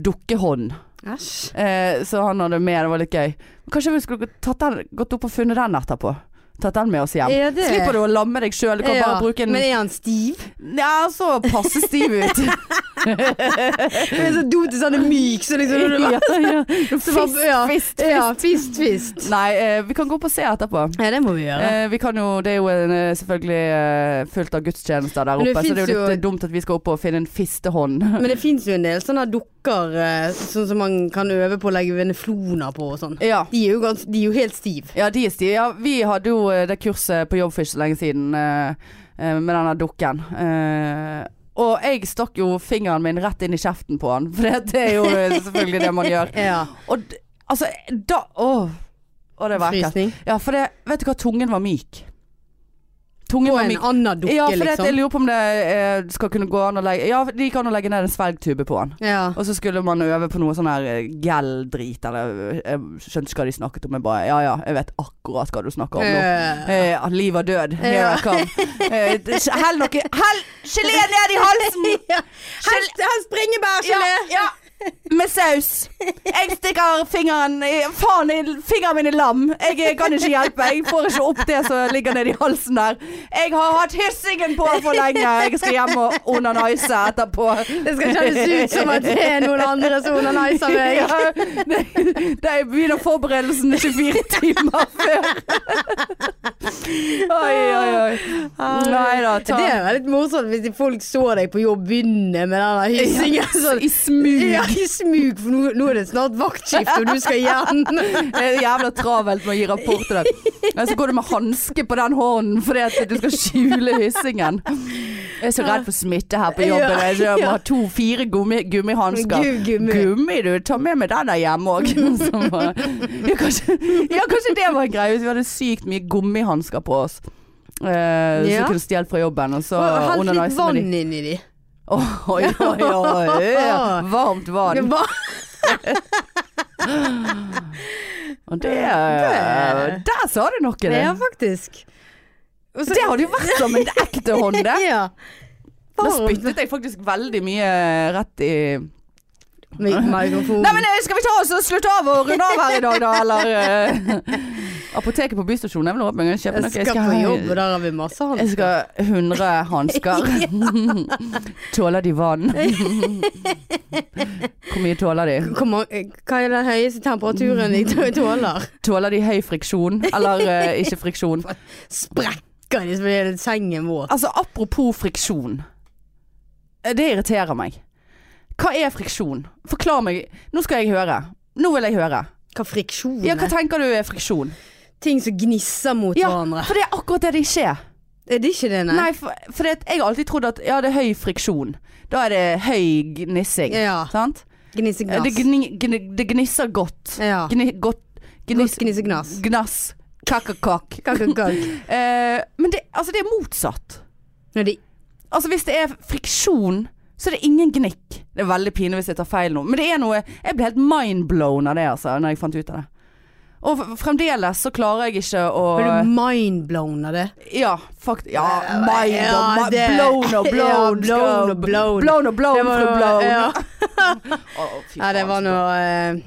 Speaker 1: dukkehånd.
Speaker 2: altså. Æsj.
Speaker 1: Eh, så han hadde med, det var litt gøy. Kanskje vi skulle tatt den, gått opp og funnet den etterpå. Tatt den med oss hjem.
Speaker 2: Ja, det-
Speaker 1: Slipper du å lamme deg sjøl, du kan
Speaker 2: Ja,
Speaker 1: bare bruke en
Speaker 2: Men er han stiv?
Speaker 1: Ja, så passe stiv ut.
Speaker 2: Han er så dum til sånn myk, så liksom
Speaker 1: ja, ja.
Speaker 2: så bare- ja.
Speaker 1: fist.
Speaker 2: Ja, fist, fist.
Speaker 1: Nei, eh, vi kan gå opp og se etterpå.
Speaker 2: Ja, det må vi gjøre.
Speaker 1: Eh, vi kan jo, det er jo en, eh, selvfølgelig eh, fullt av gudstjenester der
Speaker 2: Men
Speaker 1: oppe, så det er
Speaker 2: det
Speaker 1: jo
Speaker 2: finnes
Speaker 1: litt
Speaker 2: jo-
Speaker 1: eh, dumt at vi skal opp og finne en fistehånd.
Speaker 2: Men det fins jo en del sånne dukker eh, sånn som man kan øve på å legge venefloner på og sånn.
Speaker 1: ja.
Speaker 2: De er jo, gans, de er jo helt stiv.
Speaker 1: Ja, de er stive. Ja, vi hadde jo eh, det kurset på jobb for ikke så lenge siden eh, eh, med denne dukken. Eh, og jeg stakk jo fingeren min rett inn i kjeften på han, for det, det er jo eh, selvfølgelig det man gjør.
Speaker 2: Ja.
Speaker 1: Og d- altså, da Åh, Åh, det var ekkelt.
Speaker 2: Frysning.
Speaker 1: Ja, for det, vet du hva, tungen var myk. Tungen
Speaker 2: På
Speaker 1: var
Speaker 2: en
Speaker 1: myk.
Speaker 2: annen dukke,
Speaker 1: Ja, for det, jeg
Speaker 2: liksom.
Speaker 1: lurer på om det eh, skal kunne gå an å legge Ja, de kan jo legge ned en svelgtube på han.
Speaker 2: Ja.
Speaker 1: Og så skulle man øve på noe sånn her eh, gel-drit, eller eh, Jeg skjønte ikke hva de snakket om, jeg bare Ja ja, jeg vet akkurat hva du snakker om nå.
Speaker 2: Eh,
Speaker 1: Eh, at liv og død, here I come. Eh, d- hell noe Hell gelé ned i halsen!
Speaker 2: ja. Helst, helst
Speaker 1: Ja,
Speaker 2: bringebærgelé!
Speaker 1: ja. Med saus. Jeg stikker fingeren i Faen, i- fingeren min i lam. Jeg kan ikke hjelpe. Jeg får ikke opp det som ligger nedi halsen der. Jeg har hatt hyssingen på for lenge. Jeg skal hjem og onanise etterpå.
Speaker 2: Det skal kjennes ut som at det er noen andre som onaniser meg.
Speaker 1: Ja, det, det er- begynner forberedelsen 24 timer før. Oi, oi, oi. Nei da, ta
Speaker 2: Ah. Det er jo litt morsomt hvis folk så deg på jobb begynne med den der hyssingen. sånn.
Speaker 1: i smug.
Speaker 2: Ja, i smug, for nå, nå er det snart vaktskift, og du skal hjem.
Speaker 1: Det er jævla travelt med å gi rapport til deg. Og så går du med hanske på den hånden fordi at du skal skjule hyssingen. Jeg er så redd for smitte her på jobben. Jeg så jeg må ha to-fire gummi, gummihansker.
Speaker 2: Gu- gummi.
Speaker 1: Gummi, du. Ta med meg den der hjemme òg. Ja, kanskje ja, kanskje det var en greie hvis vi hadde sykt mye gummihansker på oss. Eh, Som
Speaker 2: Ja.
Speaker 1: kunne stjålet fra jobben, og så
Speaker 2: Og Hell litt
Speaker 1: onanise med
Speaker 2: vann
Speaker 1: de.
Speaker 2: inn i de.
Speaker 1: Oi, oi, oi, oi. Varmt vann.
Speaker 2: Hva?
Speaker 1: Og det Der sa du noe, det.
Speaker 2: Ja, faktisk. Og så-
Speaker 1: Det hadde jo vært som en ekte hånd, det.
Speaker 2: Ja.
Speaker 1: Da
Speaker 2: Varmt.
Speaker 1: spyttet jeg faktisk veldig mye rett i Nei,
Speaker 2: Mi- Mikrofon.
Speaker 1: men eh, skal vi ta oss og slutte av og runde av her i dag, da, eller eh? Apoteket på Bystasjonen er vel åpent, jeg vil kjøpe
Speaker 2: jeg
Speaker 1: noe.
Speaker 2: skal på jobb, Sånn. og der har vi masse
Speaker 1: Jeg
Speaker 2: hansker.
Speaker 1: skal 100 hansker. Tåler de vann? Hvor mye tåler de?
Speaker 2: Hvor mange- Hva er den høyeste temperaturen jeg tå- tåler?
Speaker 1: Tåler de høy friksjon, eller eh, ikke friksjon?
Speaker 2: Sprekker de som er sengen vår?
Speaker 1: Altså, apropos friksjon. Eh, Det irriterer meg. Hva er friksjon? Forklar meg. Nå skal jeg høre. Nå vil jeg høre.
Speaker 2: Hva friksjon
Speaker 1: Ja, hva
Speaker 2: er?
Speaker 1: tenker du er friksjon?
Speaker 2: Ting som gnisser mot
Speaker 1: Ja,
Speaker 2: hverandre.
Speaker 1: for det er akkurat det det ikke er.
Speaker 2: Er det ikke det, nei?
Speaker 1: Nei, for, for det, jeg har alltid trodd at ja, det er høy friksjon. Da er det høy gnissing.
Speaker 2: Ja.
Speaker 1: Sant? Eh,
Speaker 2: Gnissegnass.
Speaker 1: Det, gni, gni, det gnisser godt.
Speaker 2: Ja.
Speaker 1: Gni, godt gniss,
Speaker 2: Godt gnissegnass.
Speaker 1: Gnass. Kakakak.
Speaker 2: Kakakak.
Speaker 1: Eh, men det, altså, det er motsatt.
Speaker 2: Når de
Speaker 1: Altså hvis det er friksjon så er det ingen gnikk. Det er veldig pinlig hvis jeg tar feil nå. Men det er noe Jeg ble helt mindblown av det, altså, når jeg fant ut av det. Og f- fremdeles så klarer jeg ikke å
Speaker 2: Blir du mindblown av det?
Speaker 1: Ja, fakt... Ja, mind
Speaker 2: Ja,
Speaker 1: og mi-
Speaker 2: det-
Speaker 1: blown og blown.
Speaker 2: Ja, blown
Speaker 1: skal-
Speaker 2: og blown.
Speaker 1: Blown og blown.
Speaker 2: Det var
Speaker 1: skal
Speaker 2: noe-
Speaker 1: blown.
Speaker 2: ja.
Speaker 1: Å, fy
Speaker 2: Ja, det
Speaker 1: faen,
Speaker 2: var
Speaker 1: så-
Speaker 2: noe eh,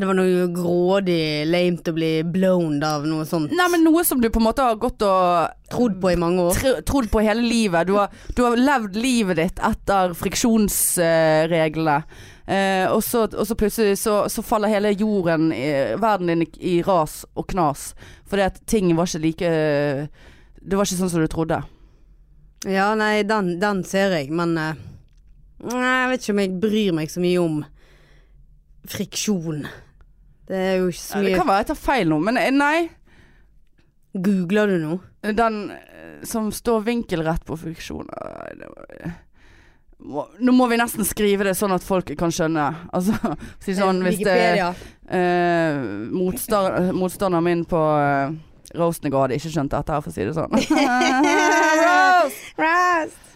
Speaker 2: Det var noe grådig lamet å bli blown av noe sånt.
Speaker 1: Nei, men noe som du på en måte har gått og
Speaker 2: Trodd på i mange år.
Speaker 1: tr trodd på hele livet. Du har, du har levd livet ditt etter friksjonsreglene. Eh, og, så, og så plutselig så, så faller hele jorden, i, verden din, i, i ras og knas. Fordi at ting var ikke like Det var ikke sånn som du trodde.
Speaker 2: Ja, nei, den, den ser jeg, men eh, Nei, jeg vet ikke om jeg bryr meg så mye om friksjon. Det er jo ikke så
Speaker 1: Det
Speaker 2: mye
Speaker 1: kan være jeg tar feil nå, men eh, nei.
Speaker 2: Googler du nå?
Speaker 1: Den eh, som står vinkelrett på friksjon eh, det var- Må- Nå må vi nesten skrive det sånn at folk kan skjønne. Altså, si sånn hvis det
Speaker 2: Wikipedia.
Speaker 1: eh, motsta- Motstanderen min på eh, roasten i går hadde ikke skjønt dette her, for å si det sånn. Roast!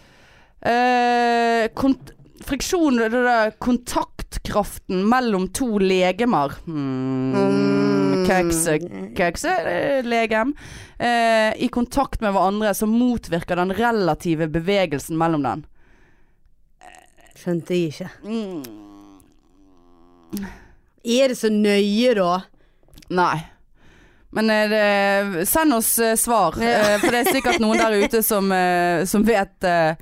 Speaker 1: Eh, kont friksjon det der, Kontaktkraften mellom to legemer. Hmm. Kekse, kekse eh, legem. Eh, I kontakt med hverandre så motvirker den relative bevegelsen mellom den.
Speaker 2: Skjønte jeg ikke.
Speaker 1: Mm.
Speaker 2: Er det så nøye, da?
Speaker 1: Nei. Men eh, det, send oss eh, svar, eh, for det er sikkert noen der ute som, eh, som vet eh,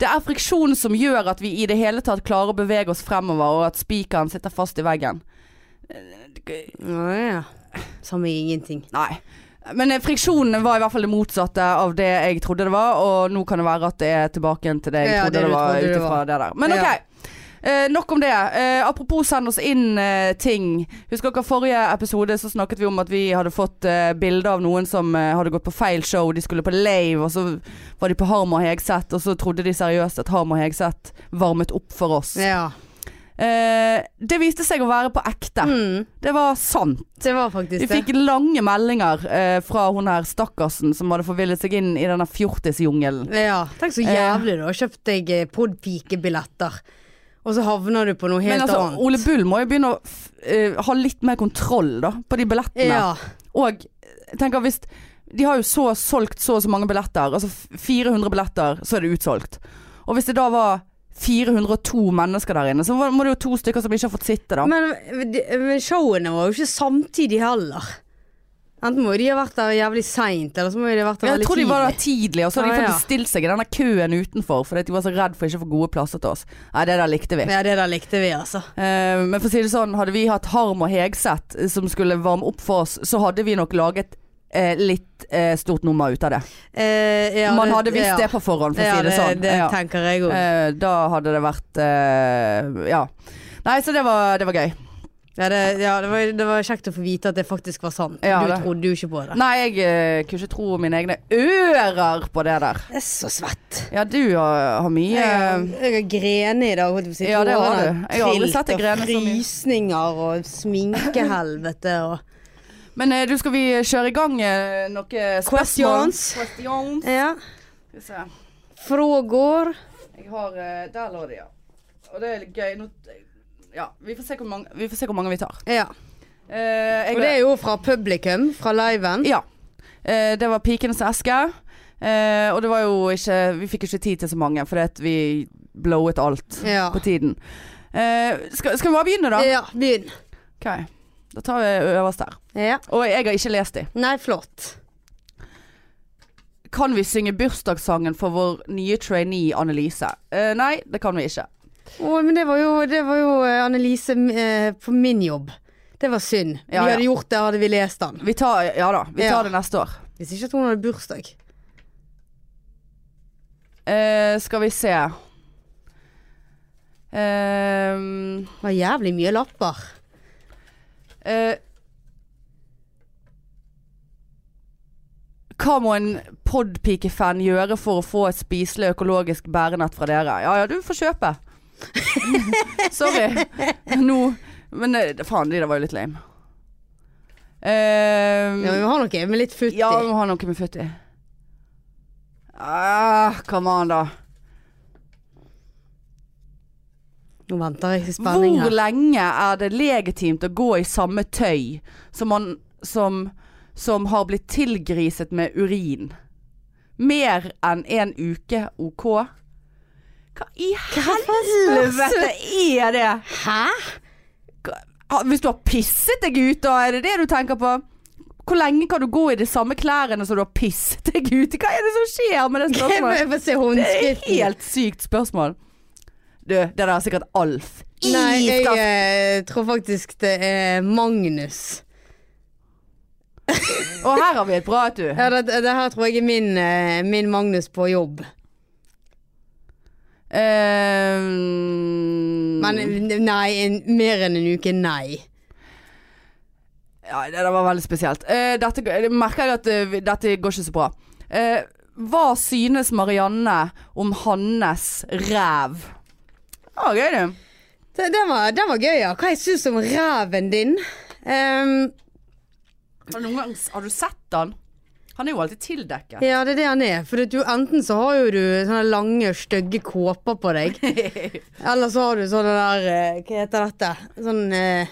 Speaker 1: Det er friksjon som gjør at vi i det hele tatt klarer å bevege oss fremover, og at spikeren sitter fast i veggen.
Speaker 2: Å ja. Sa meg ingenting.
Speaker 1: Nei. Men eh, friksjonen var i hvert fall det motsatte av det jeg trodde det var, og nå kan det være at det er tilbake igjen til det jeg
Speaker 2: Ja,
Speaker 1: trodde
Speaker 2: det
Speaker 1: det,
Speaker 2: du
Speaker 1: var,
Speaker 2: trodde
Speaker 1: ut
Speaker 2: det
Speaker 1: ifra
Speaker 2: var.
Speaker 1: det der. Men
Speaker 2: Ja.
Speaker 1: ok. Eh, nok om det. Eh, apropos send oss inn eh, ting. Husker dere forrige episode så snakket vi om at vi hadde fått eh, bilde av noen som eh, hadde gått på feil show. De skulle på Lave, og så var de på Harm og Hegseth, og så trodde de seriøst at Harm og Hegseth varmet opp for oss.
Speaker 2: Ja.
Speaker 1: Eh, det viste seg å være på ekte.
Speaker 2: Mm.
Speaker 1: Det var sant.
Speaker 2: Det var faktisk
Speaker 1: Vi
Speaker 2: det.
Speaker 1: fikk lange meldinger eh, fra hun her stakkarsen som hadde forvillet seg inn i denne fjortisjungelen.
Speaker 2: Ja. Tenk så
Speaker 1: Eh.
Speaker 2: jævlig, da. Kjøpt deg eh, podpikebilletter, og så havner du på noe
Speaker 1: Men
Speaker 2: helt
Speaker 1: altså,
Speaker 2: annet.
Speaker 1: Ole Bull må jo begynne å f eh, ha litt mer kontroll da, på de billettene.
Speaker 2: Ja.
Speaker 1: Og jeg tenker hvis De har jo så solgt så og så mange billetter. Altså f- 400 billetter, så er det utsolgt. Og hvis det da var 402 mennesker der inne, så var- må det jo to stykker som ikke har fått sitte, da.
Speaker 2: Men, de- men showene var jo ikke samtidig heller. Enten må de ha vært der jævlig seint, eller så må de ha vært der
Speaker 1: jeg
Speaker 2: veldig
Speaker 1: tror de
Speaker 2: tidlig.
Speaker 1: var der tidlig, og så hadde
Speaker 2: Ah,
Speaker 1: de fått
Speaker 2: ja.
Speaker 1: bestilt seg i denne køen utenfor fordi at de var så redd for ikke å få gode plasser til oss. Nei, det der likte vi.
Speaker 2: Ja, det der likte vi, altså.
Speaker 1: Eh, men for å si det sånn, hadde vi hatt Harm og Hegseth eh, som skulle varme opp for oss, så hadde vi nok laget eh, litt eh, stort nummer ut av det.
Speaker 2: Eh, ja,
Speaker 1: Man
Speaker 2: det-
Speaker 1: hadde visst
Speaker 2: ja.
Speaker 1: det på forhånd, for å
Speaker 2: ja,
Speaker 1: si det, sånn.
Speaker 2: Det, det
Speaker 1: ja.
Speaker 2: tenker jeg òg.
Speaker 1: Eh, da hadde det vært eh, Ja. Nei, så det var, det var gøy.
Speaker 2: Ja, det, ja det, var, det var kjekt å få vite at det faktisk var sant.
Speaker 1: Ja,
Speaker 2: du
Speaker 1: det-
Speaker 2: trodde jo ikke på det.
Speaker 1: Nei, jeg eh, kunne ikke tro mine egne ører på det der.
Speaker 2: Jeg er så svett.
Speaker 1: Ja, du har, har mye eh,
Speaker 2: Jeg har grener i dag. holdt jeg på å si.
Speaker 1: Ja, det har
Speaker 2: Tårene
Speaker 1: du. Jeg har aldri
Speaker 2: trilt,
Speaker 1: sett deg grene så
Speaker 2: og
Speaker 1: mye.
Speaker 2: Frysninger og sminkehelvete og
Speaker 1: Men eh, du, skal vi kjøre i gang eh, noen spørsmål?
Speaker 2: Questions.
Speaker 1: Questions.
Speaker 2: Ja.
Speaker 1: Skal vi se.
Speaker 2: Frågor.
Speaker 1: Jeg har eh, Der lå det, ja. Og det er litt gøy. Nå, ja, vi får se hvor mange vi, får se hvor mange vi tar.
Speaker 2: Ja.
Speaker 1: Eh, jeg,
Speaker 2: Og det er jo fra publikum, fra liven.
Speaker 1: Ja. Eh, det var 'Pikenes eske'. Eh, og det var jo ikke Vi fikk ikke tid til så mange, fordi at vi blowet alt
Speaker 2: Ja.
Speaker 1: på tiden. Eh, skal, skal vi bare begynne, da?
Speaker 2: ja begynn.
Speaker 1: OK. Da tar vi øverst her.
Speaker 2: Ja.
Speaker 1: Og jeg har ikke lest de.
Speaker 2: Nei, flott.
Speaker 1: Kan vi synge bursdagssangen for vår nye trainee Annelise? Eh, nei, det kan vi ikke.
Speaker 2: Å, men det var jo, det var jo eh, Annelise eh, på min jobb. Det var synd.
Speaker 1: Ja, ja.
Speaker 2: vi hadde gjort det, hadde vi lest den.
Speaker 1: Vi tar, ja da, vi tar
Speaker 2: Ja.
Speaker 1: det neste år.
Speaker 2: Hvis ikke at hun hadde bursdag.
Speaker 1: Eh, skal vi se Ehm,
Speaker 2: Det var jævlig mye lapper.
Speaker 1: eh, Hva må en podpikefan gjøre for å få et spiselig økologisk bærenett fra dere? Ja ja, du får kjøpe. Sorry. Nå Men eh, faen, de der var jo litt lame. Ehm,
Speaker 2: Ja, men vi har noe med litt futt i.
Speaker 1: ja, vi må ha noe med futt i. Ah, come on, da.
Speaker 2: Nå venter jeg i spenning
Speaker 1: Hvor
Speaker 2: her.
Speaker 1: lenge er det legitimt å gå i samme tøy som, man, som, som har blitt tilgriset med urin? Mer enn en uke, OK? Hva i helvete er det?
Speaker 2: Hæ?
Speaker 1: Ha- Hvis du har pisset deg ut, da er det det du tenker på? Hvor lenge kan du gå i de samme klærne som du har pisset deg ut i? Hva er det som skjer med det
Speaker 2: Jeg må
Speaker 1: spørsmålet?
Speaker 2: jeg må se
Speaker 1: Det er et
Speaker 2: håndskriften.
Speaker 1: helt sykt spørsmål. Du, det der er sikkert Alf.
Speaker 2: Nei, jeg
Speaker 1: Iskald
Speaker 2: eh, tror faktisk det er Magnus.
Speaker 1: Og her har vi et bra et, du.
Speaker 2: Ja, det, det her tror jeg er min, eh, min Magnus på jobb.
Speaker 1: Ehm,
Speaker 2: Men nei, en, mer enn en uke, nei.
Speaker 1: ja, det der var veldig spesielt. Eh, dette, g- merker jeg at eh, vi- dette går ikke så bra. Eh, Hva synes Marianne om Hannes ræv? Ja, gøy det.
Speaker 2: Det- Den var, den var gøy, ja. Hva jeg syns om ræven din? Ehm,
Speaker 1: Har du, noen gang, har du sett han? Han er jo alltid tildekket.
Speaker 2: ja, det er det han er. For du, enten så har jo du sånne lange, stygge kåper på deg. Eller så har du sånne der eh, Hva heter dette? Sånn eh,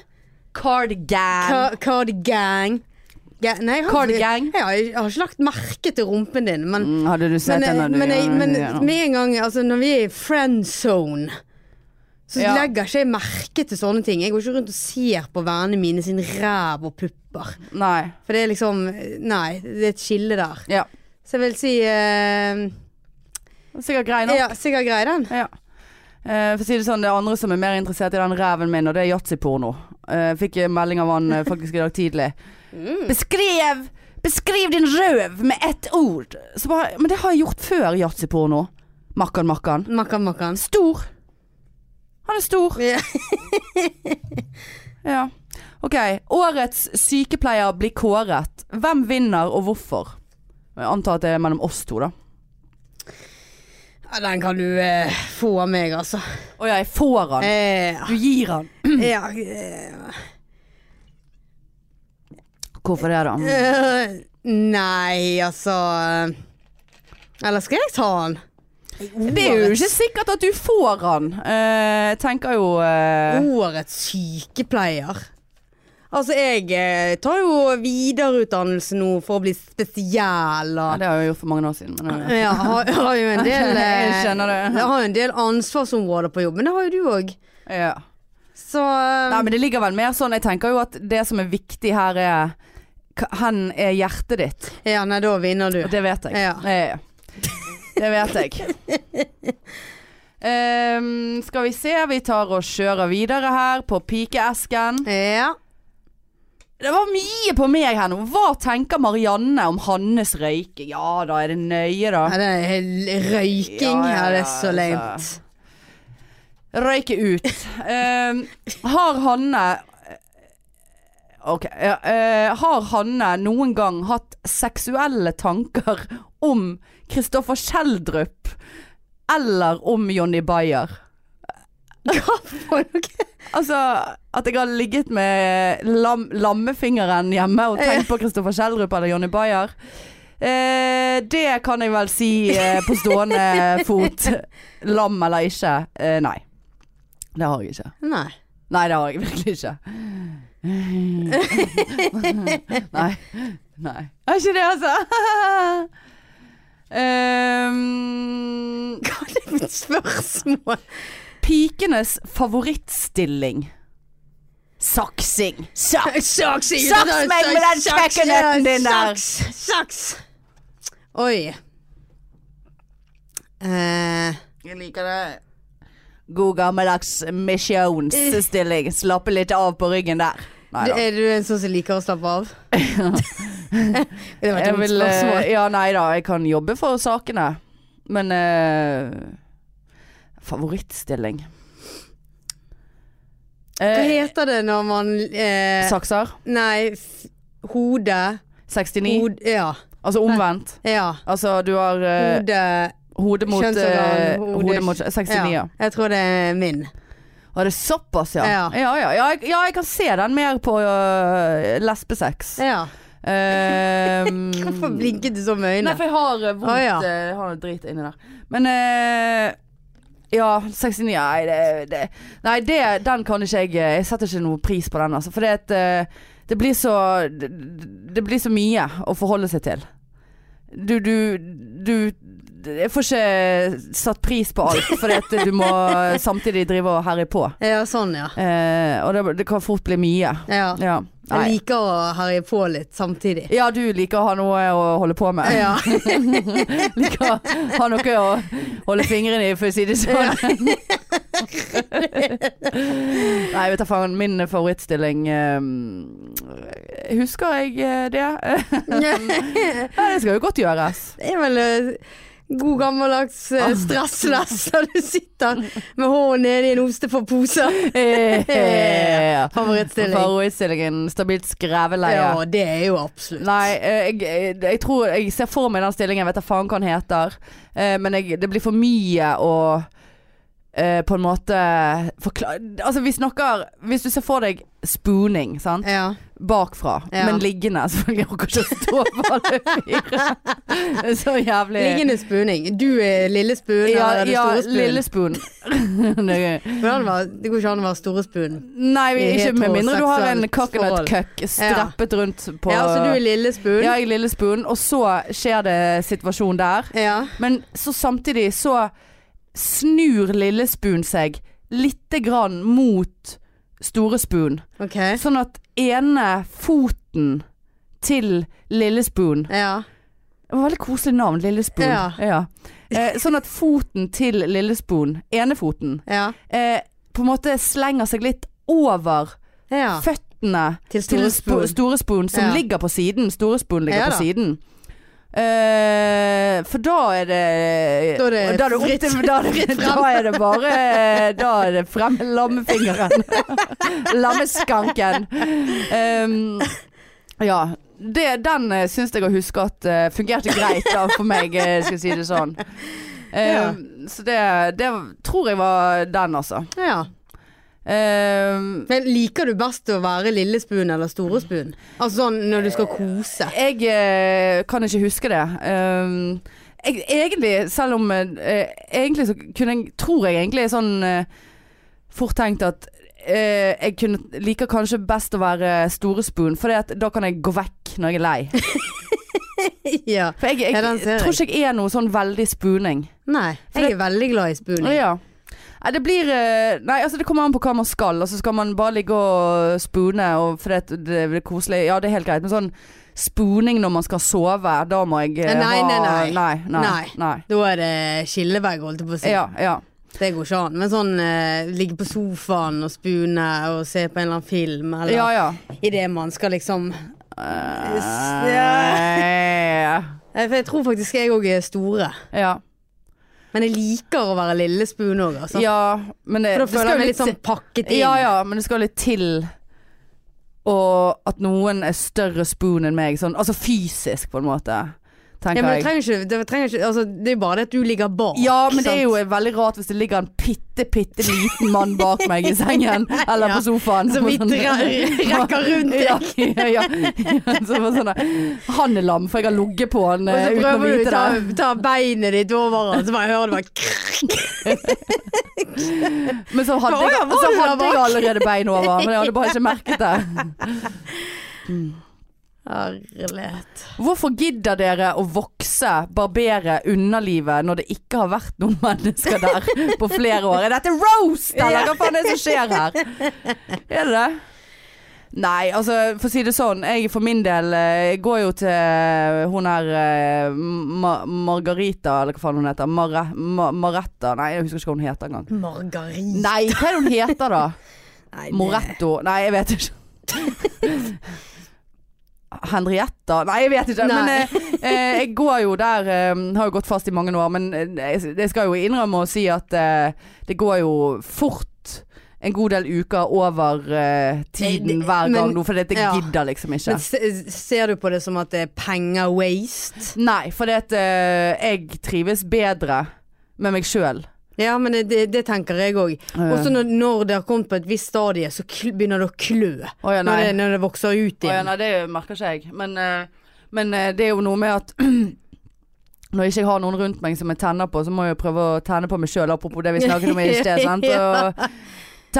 Speaker 1: Cardigan.
Speaker 2: ca- cardigan. Ga- Nei, jeg har,
Speaker 1: Cardigan.
Speaker 2: Jeg, har, jeg har ikke lagt merke til rumpen din, men
Speaker 1: Mm, hadde du sett den?
Speaker 2: Men, eh,
Speaker 1: når du-
Speaker 2: men, jeg, men
Speaker 1: ja, nå.
Speaker 2: med en gang altså, Når vi er i friend zone Så
Speaker 1: Ja.
Speaker 2: legger ikke jeg merke til sånne ting Jeg går ikke rundt og ser på vennene mine Sin ræv og pupper
Speaker 1: Nei.
Speaker 2: For det er liksom, nei, det er et skille der
Speaker 1: Ja.
Speaker 2: Så jeg vil si eh,
Speaker 1: Sikkert grei nok.
Speaker 2: Ja, sikkert grei den
Speaker 1: Ja. Eh, for å si det sånn, det er andre som er mer interessert i den ræven min, og det er yatzyporno. Uh, fikk jeg melding av han eh, faktisk i dag tidlig. Mm. Beskrev Beskriv din røv med ett ord! Så bare, men det har jeg gjort før yatzyporno. Makkan, makkan.
Speaker 2: Makkan, makkan
Speaker 1: Stor. Han er stor.
Speaker 2: Ja.
Speaker 1: ja. OK. Årets sykepleier blir kåret. Hvem vinner, og hvorfor? Jeg antar at det er mellom oss to, da.
Speaker 2: Ja, Den kan du eh, få av meg altså
Speaker 1: Å ja, jeg får han.
Speaker 2: eh,
Speaker 1: Du gir han.
Speaker 2: ja, eh,
Speaker 1: Hvorfor det, da?
Speaker 2: eh, Nei, altså Eller skal jeg ta den?
Speaker 1: Det er jo ikke sikkert at du får han. Eh, tenker jo eh,
Speaker 2: Årets sykepleier. Altså, jeg eh, tar jo videreutdannelse nå for å bli spesiell.
Speaker 1: ja,
Speaker 2: Og,
Speaker 1: Det har jeg gjort for mange år siden. Men, eh,
Speaker 2: ja, har, har jo en del eh,
Speaker 1: Jeg skjønner det.
Speaker 2: Jeg har jo en del ansvarsområder på jobb, men det har jo du òg.
Speaker 1: eh, ja.
Speaker 2: Så eh,
Speaker 1: Nei, men det ligger vel mer sånn Jeg tenker jo at det som er viktig her, er hva- Hen er hjertet ditt.
Speaker 2: eh, Ja, nei, da vinner du.
Speaker 1: Og det vet jeg.
Speaker 2: Ja.
Speaker 1: Eh, det vet jeg. Ehm, skal vi se, vi tar og kjører videre her på pikeesken.
Speaker 2: Ja.
Speaker 1: Det var mye på meg her nå. Hva tenker Marianne om Hannes røyking? Ja da, er det nøye, da?
Speaker 2: Ja, det er hel- røyking.
Speaker 1: Ja, ja,
Speaker 2: Ja,
Speaker 1: ja,
Speaker 2: det er så
Speaker 1: altså.
Speaker 2: leit.
Speaker 1: Røyke ut. Ehm, har Hanne Ok. Ja, eh, har Hanne noen gang hatt seksuelle tanker om Kristoffer Schjelderup eller om Jonny Bayer?
Speaker 2: Hva for noe?
Speaker 1: Altså at jeg har ligget med lam lammefingeren hjemme og tenkt på Kristoffer Schjelderup eller Jonny Bayer. Eh, det kan jeg vel si eh, på stående fot. Lam eller ikke. Eh, nei. Det har jeg ikke.
Speaker 2: Nei.
Speaker 1: Nei, det har jeg virkelig ikke. Nei. Nei. Er ikke det, altså? Ehm,
Speaker 2: Hva er det for et spørsmål?
Speaker 1: pikenes favorittstilling. Saksing. Saks.
Speaker 2: Saks, ikke
Speaker 1: Saks
Speaker 2: sant?
Speaker 1: meg med den
Speaker 2: Saks,
Speaker 1: kjekkenheten
Speaker 2: ja,
Speaker 1: din der.
Speaker 2: Saks, saks. Oi. Eh,
Speaker 1: Jeg liker det. God gammeldags misjonsstilling. Slappe litt av på ryggen der. Nei
Speaker 2: du-
Speaker 1: da.
Speaker 2: er du en sånn som liker å slappe av? det var et
Speaker 1: Jeg
Speaker 2: dumt
Speaker 1: vil, eh,
Speaker 2: spørsmål.
Speaker 1: ja, nei da, jeg kan jobbe for sakene. Men eh, favorittstilling
Speaker 2: Hva
Speaker 1: eh,
Speaker 2: heter det når man eh,
Speaker 1: Sakser.
Speaker 2: Nei, f hode
Speaker 1: 69.
Speaker 2: Hode Ja.
Speaker 1: altså omvendt.
Speaker 2: ja.
Speaker 1: Altså du har eh,
Speaker 2: Hode
Speaker 1: hodet mot eh,
Speaker 2: Kjønnsorgan, hode-
Speaker 1: Hodet mot 69, ja.
Speaker 2: ja. Jeg tror det er min.
Speaker 1: Var det såpass, ja? Ja
Speaker 2: Ja.
Speaker 1: ja, ja, jeg, ja jeg kan se den mer på eh, lesbesex.
Speaker 2: Ja.
Speaker 1: Eh,
Speaker 2: Hvorfor blinket du sånn med
Speaker 1: Nei,
Speaker 2: øynene?
Speaker 1: for jeg har eh, vondt
Speaker 2: Å, ja.
Speaker 1: eh, Jeg har noe drit inni der. Men eh, Ja, 69 Nei, det, det, nei det, den kan ikke jeg eh, Jeg setter ikke noe pris på den, altså. For det, at, eh, det blir så det, det blir så mye å forholde seg til. Du, du, du Jeg får ikke satt pris på alt, for det at du må samtidig drive og herje på.
Speaker 2: Ja, sånn, ja.
Speaker 1: Eh, og det, det kan fort bli mye.
Speaker 2: ja.
Speaker 1: Ja.
Speaker 2: Jeg
Speaker 1: Nei.
Speaker 2: liker å herje på litt samtidig.
Speaker 1: ja, du liker å ha noe å holde på med.
Speaker 2: Ja.
Speaker 1: liker å ha noe å holde fingrene i, for å si det sånn. Nei, vet du faen. Min favorittstilling eh, Husker jeg eh, det? Nei, det skal jo godt gjøres.
Speaker 2: Det er vel eh, god gammeldags
Speaker 1: Ah.
Speaker 2: eh, stressless der du sitter med hånden nede i en ostepopose.
Speaker 1: Eh, ja.
Speaker 2: Favorittstilling.
Speaker 1: Favorittstillingen. Stabilt skreveleie.
Speaker 2: Ja, det er jo absolutt.
Speaker 1: Nei, eh, jeg, jeg, jeg tror jeg ser for meg den stillingen. Jeg vet da faen hva han heter. Eh, Men jeg, det blir for mye å eh, på en måte forklare Altså, vi snakker Hvis du ser for deg spooning, sant.
Speaker 2: Ja.
Speaker 1: Bakfra.
Speaker 2: Ja.
Speaker 1: Men liggende, selvfølgelig. Jeg orker ikke å stå på alle fire. Det er Så jævlig
Speaker 2: Liggende spooning. Du er lille spoon,
Speaker 1: Ja,
Speaker 2: eller er du
Speaker 1: ja
Speaker 2: store spoon?
Speaker 1: lille spoon. Det er gøy.
Speaker 2: Men han var, det går ikke an å være store spoon.
Speaker 1: Nei, vi,
Speaker 2: I
Speaker 1: ikke med mindre du har en
Speaker 2: heteroseksuelt forhold.
Speaker 1: coconut-cuck streppet rundt på
Speaker 2: Ja, så du er lille spoon?
Speaker 1: Ja, jeg er lille spoon, og så skjer det situasjon der.
Speaker 2: Ja.
Speaker 1: Men så samtidig så snur lille spoon seg lite grann mot store spoon.
Speaker 2: Ok.
Speaker 1: Sånn at ene foten til lille spoon
Speaker 2: Ja.
Speaker 1: det var Veldig koselig navn, lille spoon.
Speaker 2: Ja.
Speaker 1: Eh, sånn at foten til lille spoon, enefoten,
Speaker 2: Ja.
Speaker 1: eh, på en måte slenger seg litt over
Speaker 2: ja.
Speaker 1: føttene
Speaker 2: Til
Speaker 1: til
Speaker 2: store
Speaker 1: spo-
Speaker 2: spoon.
Speaker 1: store spoon som
Speaker 2: Ja.
Speaker 1: ligger på siden. Store spoon ligger
Speaker 2: Ja
Speaker 1: på
Speaker 2: da.
Speaker 1: siden. Eh, for da er det
Speaker 2: Da er det
Speaker 1: opp
Speaker 2: fritt-
Speaker 1: til- da, er det, da er det bare Da er det frem med lammefingeren. Lammeskanken. Ehm, ja. Det, den uh, syns jeg å huske at eh, fungerte greit da, for meg, eh, skal jeg si det sånn. Ehm, Så det, det tror jeg var den, altså.
Speaker 2: ja.
Speaker 1: Ehm,
Speaker 2: Men liker du best å være lille spoon eller store spoon? Altså sånn når du skal kose.
Speaker 1: Jeg eh, kan ikke huske det. Um, jeg, egentlig, selv om eh, Egentlig så kunne jeg Tror jeg egentlig er sånn eh, fort tenkt at eh, jeg kunne liker kanskje best å være storespoon, for da kan jeg gå vekk når jeg er lei.
Speaker 2: ja.
Speaker 1: For jeg, jeg,
Speaker 2: Ja, den ser jeg.
Speaker 1: tror ikke jeg er noe sånn veldig spooning.
Speaker 2: Nei,
Speaker 1: For
Speaker 2: jeg er veldig glad i spooning.
Speaker 1: Ja. Nei, det blir eh, Nei, altså det kommer an på hva man skal. Altså skal man bare ligge og spune og fordi at det blir koselig. Ja, det er helt greit, men sånn spooning når man skal sove, da må jeg eh,
Speaker 2: Nei,
Speaker 1: ha
Speaker 2: nei, nei.
Speaker 1: Nei, nei,
Speaker 2: Nei.
Speaker 1: nei.
Speaker 2: Da er det skillevegg, holdt jeg på å si.
Speaker 1: Ja, ja.
Speaker 2: Det går ikke an. Men sånn eh, ligge på sofaen og spune og se på en eller annen film, eller
Speaker 1: Ja, ja.
Speaker 2: idet man skal liksom
Speaker 1: Eh,
Speaker 2: ja. Eh, For jeg tror faktisk jeg òg er store.
Speaker 1: ja.
Speaker 2: Men jeg liker å være lille spoon òg, altså.
Speaker 1: ja. Men det,
Speaker 2: For da
Speaker 1: det skal
Speaker 2: føler jeg meg
Speaker 1: litt
Speaker 2: litt sånn pakket
Speaker 1: til-
Speaker 2: inn.
Speaker 1: Ja, ja, men det skal litt til. Og at noen er større spoon enn meg, sånn, altså fysisk på en måte,
Speaker 2: Ja,
Speaker 1: tenker
Speaker 2: men det
Speaker 1: jeg.
Speaker 2: trenger ikke, det, trenger ikke altså, det er jo bare det at du ligger bak.
Speaker 1: Ja, men det
Speaker 2: sant?
Speaker 1: er jo veldig rart hvis det ligger en bitte, bitte liten mann bak meg i sengen, eller på
Speaker 2: Ja.
Speaker 1: sofaen.
Speaker 2: Så vi
Speaker 1: Sånn-
Speaker 2: drar- rekker rundt deg.
Speaker 1: Ja, ja, ja. Så bare sånn, han er lam, for jeg har ligget på han
Speaker 2: Og
Speaker 1: eh,
Speaker 2: så
Speaker 1: uten å
Speaker 2: prøver du å
Speaker 1: vite
Speaker 2: ta,
Speaker 1: det.
Speaker 2: ta beinet ditt over han, så bare hører du bare krr.
Speaker 1: Men så hadde,
Speaker 2: Å,
Speaker 1: jeg,
Speaker 2: ja,
Speaker 1: så
Speaker 2: var du der
Speaker 1: hadde jeg
Speaker 2: bak?
Speaker 1: allerede bein over, men jeg hadde bare ikke merket det.
Speaker 2: Herlighet.
Speaker 1: Hvorfor gidder dere å vokse, barbere underlivet når det ikke har vært noen mennesker der på flere år? Er dette roast, eller hva faen er det som skjer her? Er det det? Nei, altså for å si det sånn, jeg for min del eh, går jo til hun her eh, Ma Margarita, eller hva faen hun heter. Mare Ma Maretta, nei jeg husker ikke hva hun heter engang.
Speaker 2: Margarin.
Speaker 1: Nei, hva er det hun heter da?
Speaker 2: Nei, det-
Speaker 1: Moretto Nei, jeg vet ikke. Henrietta Nei, jeg vet ikke. Men
Speaker 2: Nei.
Speaker 1: eh, eh, jeg går jo der eh, Har jo gått fast i mange år, men eh, jeg, jeg skal jo innrømme å si at eh, det går jo fort en god del uker over eh,
Speaker 2: Nei,
Speaker 1: tiden
Speaker 2: det-
Speaker 1: hver gang
Speaker 2: men-
Speaker 1: nå, for jeg
Speaker 2: ja.
Speaker 1: gidder liksom ikke.
Speaker 2: Men se, ser du på det som at det er penger waste?
Speaker 1: Nei, for det at eh, jeg trives bedre med meg sjøl.
Speaker 2: Ja, men det, det, det tenker jeg òg. Også når, når det har kommet på et visst stadie, så kl, begynner det å klø.
Speaker 1: Eh, Å ja,
Speaker 2: når,
Speaker 1: nei.
Speaker 2: det, når det vokser ut
Speaker 1: Å ja,
Speaker 2: igjen.
Speaker 1: nei, det merker ikke jeg. Men, eh, men eh, det er jo noe med at når jeg ikke har noen rundt meg som jeg tenner på, så må jeg jo prøve å tenne på meg sjøl, apropos det vi snakket om i sted. sant? Og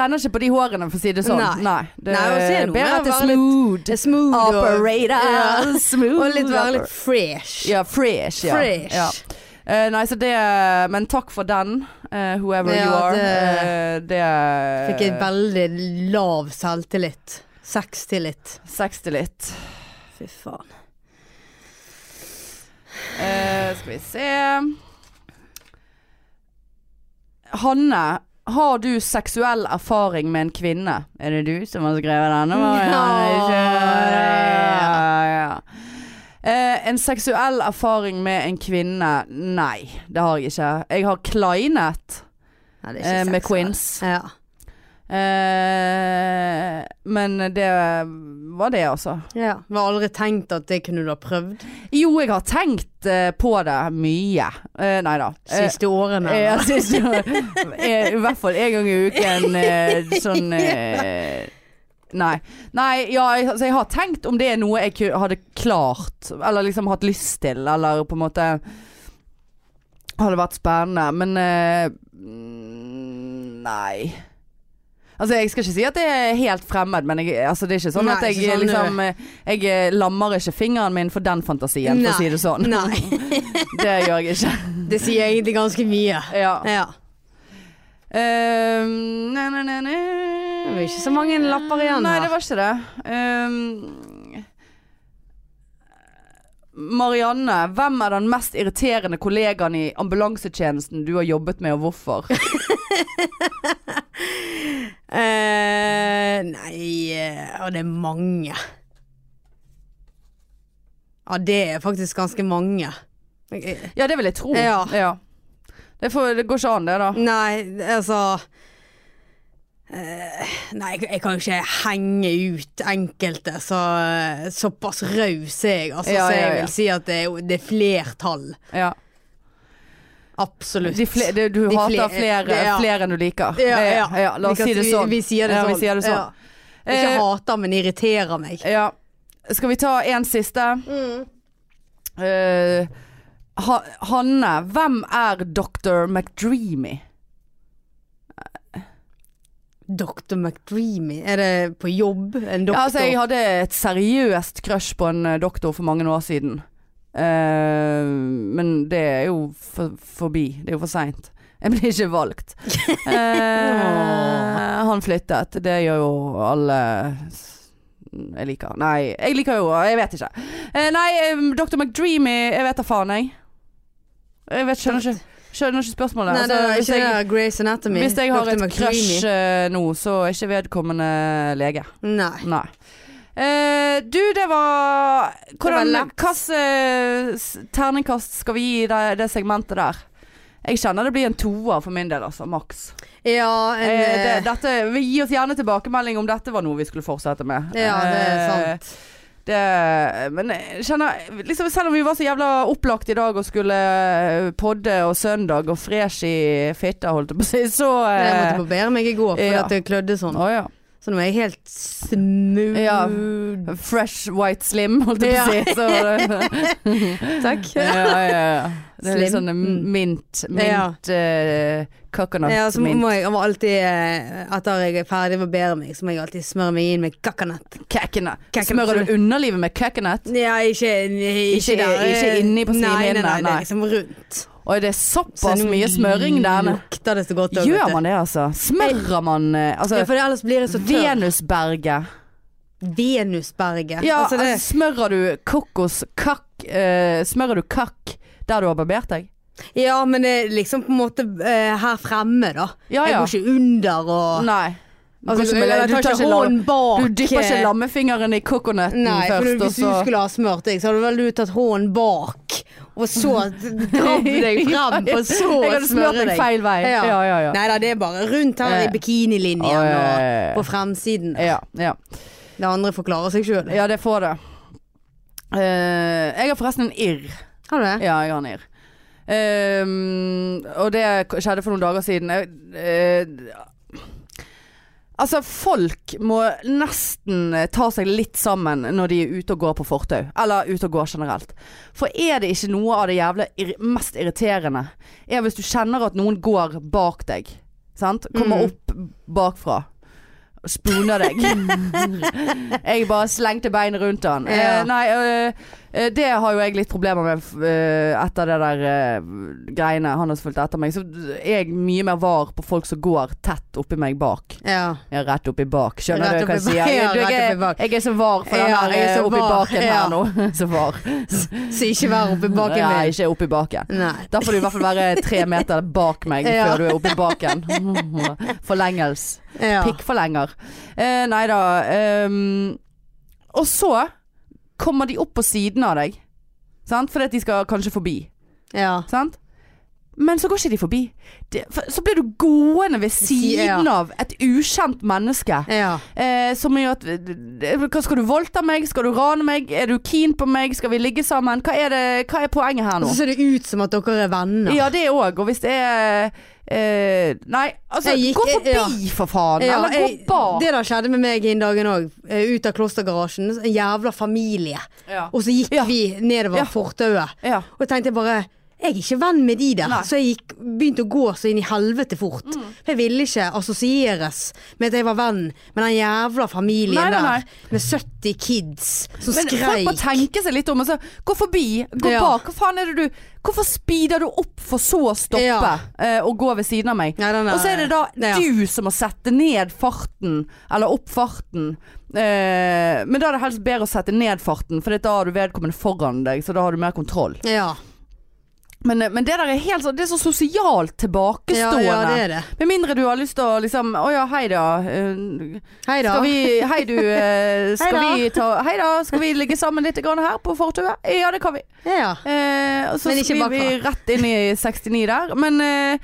Speaker 1: tenner ikke på de hårene, for å si det sånn.
Speaker 2: Nei.
Speaker 1: det
Speaker 2: Nei, og så er det
Speaker 1: er
Speaker 2: noe
Speaker 1: bedre
Speaker 2: med å
Speaker 1: at det er
Speaker 2: være litt-
Speaker 1: smooth.
Speaker 2: Det er smooth og-
Speaker 1: Operator.
Speaker 2: Ja.
Speaker 1: Smooth.
Speaker 2: Og litt være litt
Speaker 1: operator.
Speaker 2: fresh.
Speaker 1: Ja, fresh. Ja.
Speaker 2: Fresh.
Speaker 1: Ja. Eh, nei, så det Men takk for den, eh, whoever
Speaker 2: Ja,
Speaker 1: you are.
Speaker 2: det-
Speaker 1: Eh, det
Speaker 2: Fikk jeg veldig lav selvtillit. Sextillit.
Speaker 1: Sextillit.
Speaker 2: Fy faen.
Speaker 1: Eh, skal vi se Hanne, har du seksuell erfaring med en kvinne? Er det du som har skrevet denne? Marianne?
Speaker 2: Ja.
Speaker 1: Ja, ja. Eh, en seksuell erfaring med en kvinne? Nei, det har jeg ikke. Jeg har kleinet
Speaker 2: Nei, det er
Speaker 1: eh,
Speaker 2: ikke
Speaker 1: med
Speaker 2: sexuelt.
Speaker 1: queens.
Speaker 2: Ja.
Speaker 1: Eh, Men det var det, altså.
Speaker 2: Ja. Jeg har aldri tenkt at det kunne du ha prøvd
Speaker 1: Jo, jeg har tenkt eh, på det mye. Eh, nei da.
Speaker 2: de siste årene.
Speaker 1: Eh, jeg synes jo- eh, I hvert fall en gang i uken eh, sånn eh, Nei. Nei, ja, jeg, altså, jeg har tenkt om det er noe jeg ku- hadde klart, eller liksom hatt lyst til, eller på en måte Hadde vært spennende, men eh, mm, Nei. Altså, jeg skal ikke si at det er helt fremmed, men jeg, altså, det er ikke sånn
Speaker 2: Nei,
Speaker 1: at jeg
Speaker 2: ikke sånn,
Speaker 1: liksom eh, Jeg eh, lammer ikke fingeren min for den fantasien, for å si det sånn.
Speaker 2: Nei.
Speaker 1: Det gjør jeg ikke.
Speaker 2: Det sier egentlig ganske mye.
Speaker 1: Ja.
Speaker 2: Ja.
Speaker 1: Ehm, nei, nei, nei, nei.
Speaker 2: Det var ikke så mange lapper igjen
Speaker 1: Nei,
Speaker 2: her.
Speaker 1: det var ikke det. Ehm, Marianne, hvem er den mest irriterende kollegaen i ambulansetjenesten du har jobbet med, og hvorfor?
Speaker 2: Eh, nei eh, Ja, det er mange. Ja, det er faktisk ganske mange. Eh,
Speaker 1: Ja, det vil jeg tro.
Speaker 2: Ja.
Speaker 1: Det, får, det går ikke an, det, da.
Speaker 2: Nei, altså eh, Nei, jeg, jeg kan jo ikke henge ut enkelte. Så, eh, såpass raus er jeg. Altså,
Speaker 1: Ja, ja,
Speaker 2: så jeg
Speaker 1: ja.
Speaker 2: vil si at det er, jo- det er flertall.
Speaker 1: Ja.
Speaker 2: Absolutt.
Speaker 1: De fle, det- du
Speaker 2: De fle-
Speaker 1: hater flere,
Speaker 2: ja.
Speaker 1: flere enn du liker.
Speaker 2: ja,
Speaker 1: Eh,
Speaker 2: ja.
Speaker 1: ja, La
Speaker 2: Vi
Speaker 1: oss
Speaker 2: kan
Speaker 1: si det sånn.
Speaker 2: Vi, vi sier det
Speaker 1: Ja,
Speaker 2: sånn.
Speaker 1: vi sier det sånn.
Speaker 2: Ja. Ikke
Speaker 1: Eh,
Speaker 2: hater, men irriterer meg.
Speaker 1: Ja. Skal vi ta en siste? Eh, ha Hanne, hvem er Dr. McDreamy?
Speaker 2: Dr. McDreamy, er det på jobb? En doktor?
Speaker 1: Ja, altså, jeg hadde et seriøst crush på en eh, doktor for mange år siden. Eh, men det er jo for, forbi. Det er jo for seint. Jeg ble ikke valgt. Eh, han flyttet. Det gjør jo alle s- jeg liker. Nei, jeg liker jo Jeg vet ikke. Eh, nei, eh, Dr. McDreamy Jeg vet da faen, jeg. Jeg vet, skjønner, ikke, skjønner ikke spørsmålet.
Speaker 2: Nei, det
Speaker 1: Altså,
Speaker 2: er
Speaker 1: hvis
Speaker 2: ikke det
Speaker 1: jeg,
Speaker 2: der Grey's Anatomy.
Speaker 1: hvis jeg har
Speaker 2: Dr.
Speaker 1: et
Speaker 2: McDreamy.
Speaker 1: crush eh, nå, så er ikke vedkommende lege.
Speaker 2: Nei.
Speaker 1: Nei. Eh, du, det var Hvordan
Speaker 2: Det var lett.
Speaker 1: Hvilken terningkast skal vi gi det, det segmentet der? Jeg kjenner det blir en toer for min del, altså. Maks.
Speaker 2: Ja, en,
Speaker 1: Eh, det-
Speaker 2: eh,
Speaker 1: dette- vi gir oss gjerne tilbakemelding om dette var noe vi skulle fortsette med.
Speaker 2: ja, det er
Speaker 1: Eh,
Speaker 2: sant.
Speaker 1: det, men jeg kjenner liksom, Selv om vi var så jævla opplagt i dag og skulle eh, podde og søndag og fresh i fitta, holdt jeg på å si, så
Speaker 2: Jeg
Speaker 1: eh,
Speaker 2: måtte barbere meg i går fordi
Speaker 1: ja.
Speaker 2: at det klødde sånn.
Speaker 1: å ja.
Speaker 2: Så nå er jeg helt smooth.
Speaker 1: Ja. Fresh white slim, holdt jeg på å si. Så,
Speaker 2: Takk.
Speaker 1: ja, ja, ja. Det er litt
Speaker 2: Slim.
Speaker 1: sånn
Speaker 2: Mm.
Speaker 1: mint,
Speaker 2: Ja.
Speaker 1: mint eh, coconut
Speaker 2: Ja, så
Speaker 1: mint.
Speaker 2: må jeg jeg må alltid, eh, etter jeg er ferdig med å barbere meg, så må jeg alltid smøre meg inn med kakanett.
Speaker 1: Kakene.
Speaker 2: Kakene.
Speaker 1: Smører du underlivet med coconut?
Speaker 2: Ja, ikke, ikke,
Speaker 1: Ikke-
Speaker 2: der. eh,
Speaker 1: ikke inni på
Speaker 2: Nei, nei,
Speaker 1: slimhinnen,
Speaker 2: nei, det
Speaker 1: nei.
Speaker 2: er liksom rundt.
Speaker 1: Oi, det er
Speaker 2: Så
Speaker 1: såpass
Speaker 2: nå
Speaker 1: mye smøring der.
Speaker 2: Lukter det så godt også, vet
Speaker 1: Gjør
Speaker 2: du.
Speaker 1: man det, altså? Smører man eh,
Speaker 2: Ja,
Speaker 1: altså,
Speaker 2: for ellers blir jeg så tørr.
Speaker 1: Venusberget.
Speaker 2: Venusberget.
Speaker 1: Ja,
Speaker 2: altså, det,
Speaker 1: altså, smører du kokos kakk eh, Smører du kakk der du har barbert deg?
Speaker 2: ja, men det er liksom på en måte eh, her fremme, da.
Speaker 1: Ja, ja.
Speaker 2: Jeg går ikke under og
Speaker 1: Nei. Du,
Speaker 2: Altså,
Speaker 1: går ikke med-
Speaker 2: jeg,
Speaker 1: du
Speaker 2: tar ikke
Speaker 1: lam-
Speaker 2: hånden bak.
Speaker 1: du dypper ikke
Speaker 2: eh,
Speaker 1: lammefingeren i coconutten
Speaker 2: Nei, for
Speaker 1: først, og
Speaker 2: hvis du
Speaker 1: så
Speaker 2: skulle ha smurt deg, så hadde vel du tatt hånden bak, og så grabbe deg frem, og så
Speaker 1: Jeg hadde smurt
Speaker 2: smøre
Speaker 1: deg feil vei.
Speaker 2: Ja.
Speaker 1: Ja, ja, ja.
Speaker 2: Nei da, det er bare rundt her i
Speaker 1: Eh.
Speaker 2: bikinilinjen
Speaker 1: Å, ja, ja, ja, ja.
Speaker 2: og på fremsiden.
Speaker 1: Ja, ja.
Speaker 2: Det andre forklarer seg sjøl.
Speaker 1: ja, det får det. Eh, jeg har forresten en irr.
Speaker 2: Har du det?
Speaker 1: Ja, jeg har en irr. Ehm, og det k- skjedde for noen dager siden. Jeg, eh, altså, folk må nesten eh, ta seg litt sammen når de er ute og går på fortau. Eller ute og går generelt. For er det ikke noe av det jævla irri- mest irriterende, er hvis du kjenner at noen går bak deg. Sant? Kommer
Speaker 2: Mhm.
Speaker 1: opp bakfra. og Spooner deg. jeg bare slengte beinet rundt han.
Speaker 2: Ja.
Speaker 1: Eh, nei, øh, Eh, Det har jo jeg litt problemer med f- eh, etter det der eh, greiene han har fulgt etter meg. Så er jeg mye mer var på folk som går tett oppi meg bak.
Speaker 2: Ja.
Speaker 1: Ja, rett oppi bak. Skjønner
Speaker 2: Rett
Speaker 1: du hva jeg
Speaker 2: oppi
Speaker 1: sier?
Speaker 2: bak. Ja,
Speaker 1: Du,
Speaker 2: rett
Speaker 1: jeg,
Speaker 2: oppi
Speaker 1: er-
Speaker 2: bak.
Speaker 1: jeg er så var for den
Speaker 2: Ja,
Speaker 1: der
Speaker 2: jeg er
Speaker 1: eh,
Speaker 2: så
Speaker 1: oppi
Speaker 2: var.
Speaker 1: baken
Speaker 2: Ja.
Speaker 1: her nå. Så var.
Speaker 2: Så ikke vær oppe bak i
Speaker 1: Nei,
Speaker 2: meg.
Speaker 1: ikke oppi baken.
Speaker 2: Nei.
Speaker 1: Da får du i hvert fall være tre meter bak meg
Speaker 2: Ja.
Speaker 1: før du er oppi baken. Forlengels.
Speaker 2: Ja.
Speaker 1: Pikkforlenger. Eh, nei da. ehm, og så kommer de opp på siden av deg. Sant? Fordi at de skal kanskje forbi.
Speaker 2: ja.
Speaker 1: Sant? Men så går ikke de forbi. Det, for, så blir du gående ved siden
Speaker 2: ja.
Speaker 1: av et ukjent menneske.
Speaker 2: Ja.
Speaker 1: Eh, som gjør at eh, hva, Skal du voldta meg? Skal du rane meg? Er du keen på meg? Skal vi ligge sammen? Hva er, det, hva er poenget her
Speaker 2: Og
Speaker 1: nå?
Speaker 2: så ser det ut som at dere er venner.
Speaker 1: Ja, det òg. Og hvis det er eh, Nei, altså
Speaker 2: Jeg gikk-
Speaker 1: Gå forbi,
Speaker 2: ja.
Speaker 1: for faen!
Speaker 2: Ja,
Speaker 1: eller
Speaker 2: jeg-
Speaker 1: gå bak!
Speaker 2: det der skjedde med meg en dag òg. Ut av klostergarasjen. En jævla familie.
Speaker 1: Ja.
Speaker 2: Og så gikk
Speaker 1: Ja.
Speaker 2: vi nedover
Speaker 1: Ja.
Speaker 2: fortauet.
Speaker 1: Ja.
Speaker 2: Og jeg tenkte bare Jeg er ikke venn med de der.
Speaker 1: Nei. Mm.
Speaker 2: Så jeg gikk, begynte å gå så inn i helvete fort. For jeg ville ikke assosieres med at jeg var venn med den jævla familien
Speaker 1: Nei, nei, nei.
Speaker 2: der. Med 70 kids som
Speaker 1: Men folk må
Speaker 2: skreik.
Speaker 1: tenke seg litt om. Altså, gå forbi, gå
Speaker 2: Ja.
Speaker 1: bak. Hva faen er det du Hvorfor speeder du opp for så å stoppe
Speaker 2: Ja.
Speaker 1: eh, og gå ved siden av meg?
Speaker 2: Nei, nei, nei.
Speaker 1: Og så er det da
Speaker 2: Nei, ja.
Speaker 1: du som må sette ned farten, eller opp farten. Eh, men da er det helst bedre å sette ned farten, for da har du vedkommende foran deg, så da har du mer kontroll.
Speaker 2: Ja.
Speaker 1: Men, eh, men det der er helt sånn Det er så sosialt
Speaker 2: Ja,
Speaker 1: tilbakestående.
Speaker 2: ja, det er det.
Speaker 1: Med mindre du har lyst til å liksom Å ja, hei da. eh,
Speaker 2: Hei da.
Speaker 1: skal vi, hei du, eh, skal
Speaker 2: Hei da.
Speaker 1: vi ta Hei da, skal vi ligge sammen litt grann her på fortauet? Ja, det kan vi.
Speaker 2: Ja.
Speaker 1: Eh, og så
Speaker 2: Men ikke
Speaker 1: sklir vi
Speaker 2: bakfra.
Speaker 1: rett inn i 69 der. Men eh,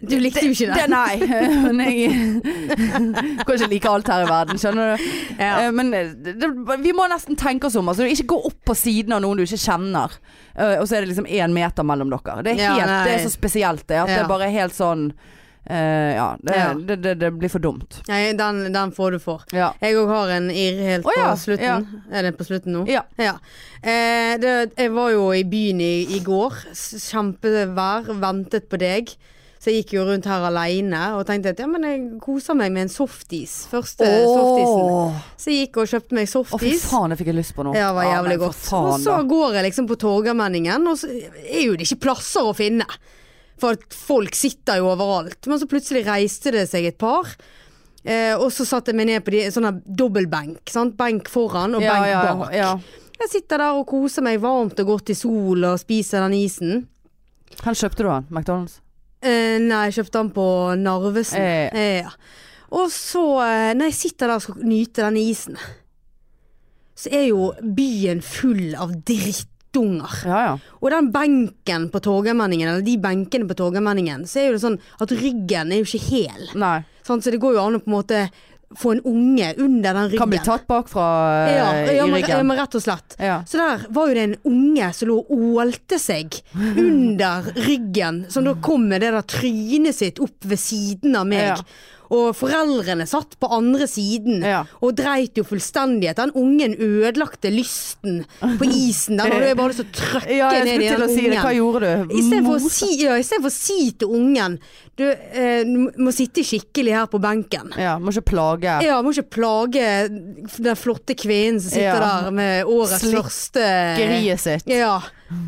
Speaker 2: Du likte jo ikke det.
Speaker 1: det nei. Men jeg kan ikke like alt her i verden, skjønner du.
Speaker 2: Ja.
Speaker 1: Eh, men det, det- vi må nesten tenke oss om. Altså, ikke gå opp på siden av noen du ikke kjenner. Eh, og så er det liksom én meter mellom dere. Det er,
Speaker 2: Ja,
Speaker 1: helt, det
Speaker 2: nei.
Speaker 1: er så spesielt det. At det
Speaker 2: Ja.
Speaker 1: er bare helt sånn eh, Ja. Det,
Speaker 2: Ja.
Speaker 1: Det, det, det blir for dumt.
Speaker 2: Nei, den, den får du for.
Speaker 1: Ja.
Speaker 2: Jeg òg har en irr helt
Speaker 1: Å,
Speaker 2: på
Speaker 1: ja,
Speaker 2: slutten.
Speaker 1: ja.
Speaker 2: Er den på slutten nå?
Speaker 1: Ja.
Speaker 2: Eh, det, jeg var jo i byen i, i går. S- Kjempevær. Ventet på deg. Så jeg gikk jo rundt her aleine og tenkte at ja, men jeg koser meg med en softis. Første softisen.
Speaker 1: Åh.
Speaker 2: Så jeg gikk og kjøpte
Speaker 1: Å,
Speaker 2: meg
Speaker 1: fy
Speaker 2: softis.
Speaker 1: faen, det fikk jeg lyst på nå.
Speaker 2: Ja, det var jævlig
Speaker 1: men for
Speaker 2: godt.
Speaker 1: faen,
Speaker 2: Og så
Speaker 1: da.
Speaker 2: går jeg liksom på Torgallmenningen, og så er jo det ikke plasser å finne. For at folk sitter jo overalt. Men så plutselig reiste det seg et par. Eh, og så satte jeg meg ned på de, sånn her dobbeltbenk. Sant? Benk foran og
Speaker 1: ja,
Speaker 2: benk
Speaker 1: ja,
Speaker 2: bak.
Speaker 1: ja.
Speaker 2: Jeg sitter der og koser meg varmt og godt i sol og spiser den isen.
Speaker 1: Hvor kjøpte du den? McDonald's?
Speaker 2: Eh, nei, jeg kjøpte den på Narvesen.
Speaker 1: Eh.
Speaker 2: Eh, ja. Og så, eh, når jeg sitter der og skal nyte denne isen, så er jo byen full av drittunger.
Speaker 1: Ja, ja.
Speaker 2: Og den benken på Torgallmenningen, eller de benkene på Torgallmenningen, så er jo det sånn at ryggen er jo ikke hel.
Speaker 1: Nei.
Speaker 2: Sant? Så det går jo an å på en måte få en unge under den ryggen.
Speaker 1: Kan bli tatt bakfra eh,
Speaker 2: ja, ja,
Speaker 1: i
Speaker 2: men, ja,
Speaker 1: ryggen.
Speaker 2: men rett og slett.
Speaker 1: Ja.
Speaker 2: Så der var jo det en unge som lå og ålte seg under ryggen, som da kom med det der trynet sitt opp ved siden av meg.
Speaker 1: Ja.
Speaker 2: Og foreldrene satt på andre siden
Speaker 1: Ja.
Speaker 2: og dreit jo fullstendig at den ungen ødelagte lysten på isen. Den hadde jeg bare lyst til å trøkke
Speaker 1: ja, jeg
Speaker 2: ned
Speaker 1: skulle
Speaker 2: i den
Speaker 1: til å
Speaker 2: ungen.
Speaker 1: si det. Hva gjorde du?
Speaker 2: I stedet for å
Speaker 1: Mos-
Speaker 2: si, ja, i stedet for å si til ungen Du eh, du må sitte skikkelig her på benken.
Speaker 1: Ja, må ikke plage.
Speaker 2: Ja, må ikke plage den flotte kvinnen som sitter
Speaker 1: Ja.
Speaker 2: der med årets
Speaker 1: Slikkeriet
Speaker 2: første
Speaker 1: Geriet sitt.
Speaker 2: Ja,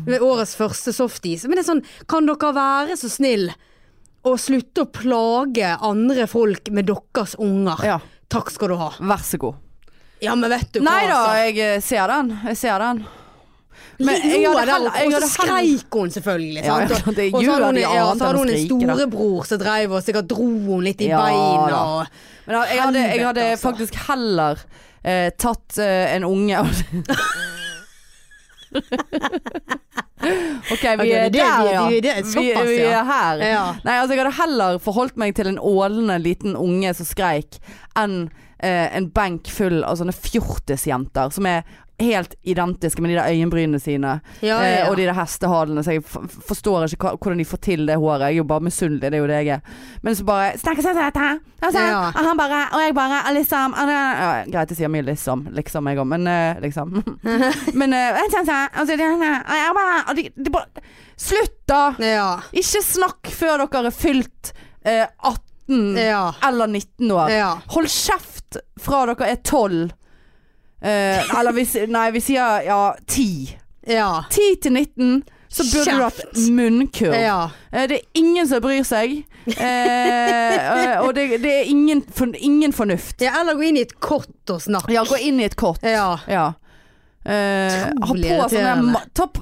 Speaker 2: med årets første softis. Men det er sånn, kan dere være så snill å slutte å plage andre folk med deres unger?
Speaker 1: Ja.
Speaker 2: Takk skal du ha.
Speaker 1: Vær så god.
Speaker 2: Ja, men vet du altså- hva,
Speaker 1: Nei da, jeg eh, ser den. Jeg ser den.
Speaker 2: Men
Speaker 1: jeg hadde heller- jeg
Speaker 2: og så
Speaker 1: hadde heller-
Speaker 2: skreik hun
Speaker 1: Ja,
Speaker 2: selvfølgelig. sant?
Speaker 1: ja,
Speaker 2: Og-
Speaker 1: det
Speaker 2: og så
Speaker 1: gjør
Speaker 2: hadde hun,
Speaker 1: de
Speaker 2: ja,
Speaker 1: annet
Speaker 2: så hadde
Speaker 1: enn å
Speaker 2: hun en
Speaker 1: skrike, da.
Speaker 2: storebror som dreiv og sikkert dro henne litt i
Speaker 1: Ja,
Speaker 2: beina.
Speaker 1: da.
Speaker 2: Og,
Speaker 1: Men jeg hadde, jeg hadde
Speaker 2: Helvete, altså.
Speaker 1: faktisk heller eh, tatt eh, en unge OK, vi
Speaker 2: det er
Speaker 1: er
Speaker 2: det-
Speaker 1: der,
Speaker 2: det-
Speaker 1: ja.
Speaker 2: det- det er
Speaker 1: Vi,
Speaker 2: såpass,
Speaker 1: vi
Speaker 2: ja.
Speaker 1: er her.
Speaker 2: Ja.
Speaker 1: Nei, altså jeg hadde heller forholdt meg til en ålende liten unge som skreik, enn eh, en benk full av sånne fjortisjenter som er helt identiske med de der øyenbrynene sine.
Speaker 2: Ja, ja, ja.
Speaker 1: Eh, og de der hestehalene. Så jeg f forstår ikke hva, hvordan de får til det håret. Jeg er jo bare misunnelig, det er jo det jeg er. Men så bare Snakker sånn som dette! Og, så,
Speaker 2: Ja.
Speaker 1: og han bare Og jeg bare og liksom og, det- ja, Greit, jeg sier mye liksom. Liksom, jeg òg, men eh, liksom. men eh, og sånn, sånn, og så- og jeg bare og de, de bare Slutt, da!
Speaker 2: ja,
Speaker 1: Ikke snakk før dere er fylt eh, 18
Speaker 2: ja,
Speaker 1: eller 19 år.
Speaker 2: ja.
Speaker 1: Hold kjeft fra dere er 12. Eh, eller vi, s- nei, vi sier ja, 10.
Speaker 2: ja.
Speaker 1: 10 til 19, så burde du hatt
Speaker 2: Kjeft.
Speaker 1: munnkurv.
Speaker 2: Ja.
Speaker 1: Eh, det er ingen som bryr seg. Eh, og det, det er ingen, forn- ingen fornuft.
Speaker 2: ja, eller gå inn i et kott og snakk.
Speaker 1: Ja, gå inn i et kott.
Speaker 2: Ja.
Speaker 1: Ja. Eh, ha på
Speaker 2: Utrolig
Speaker 1: sånne
Speaker 2: irriterende.
Speaker 1: ma ta på,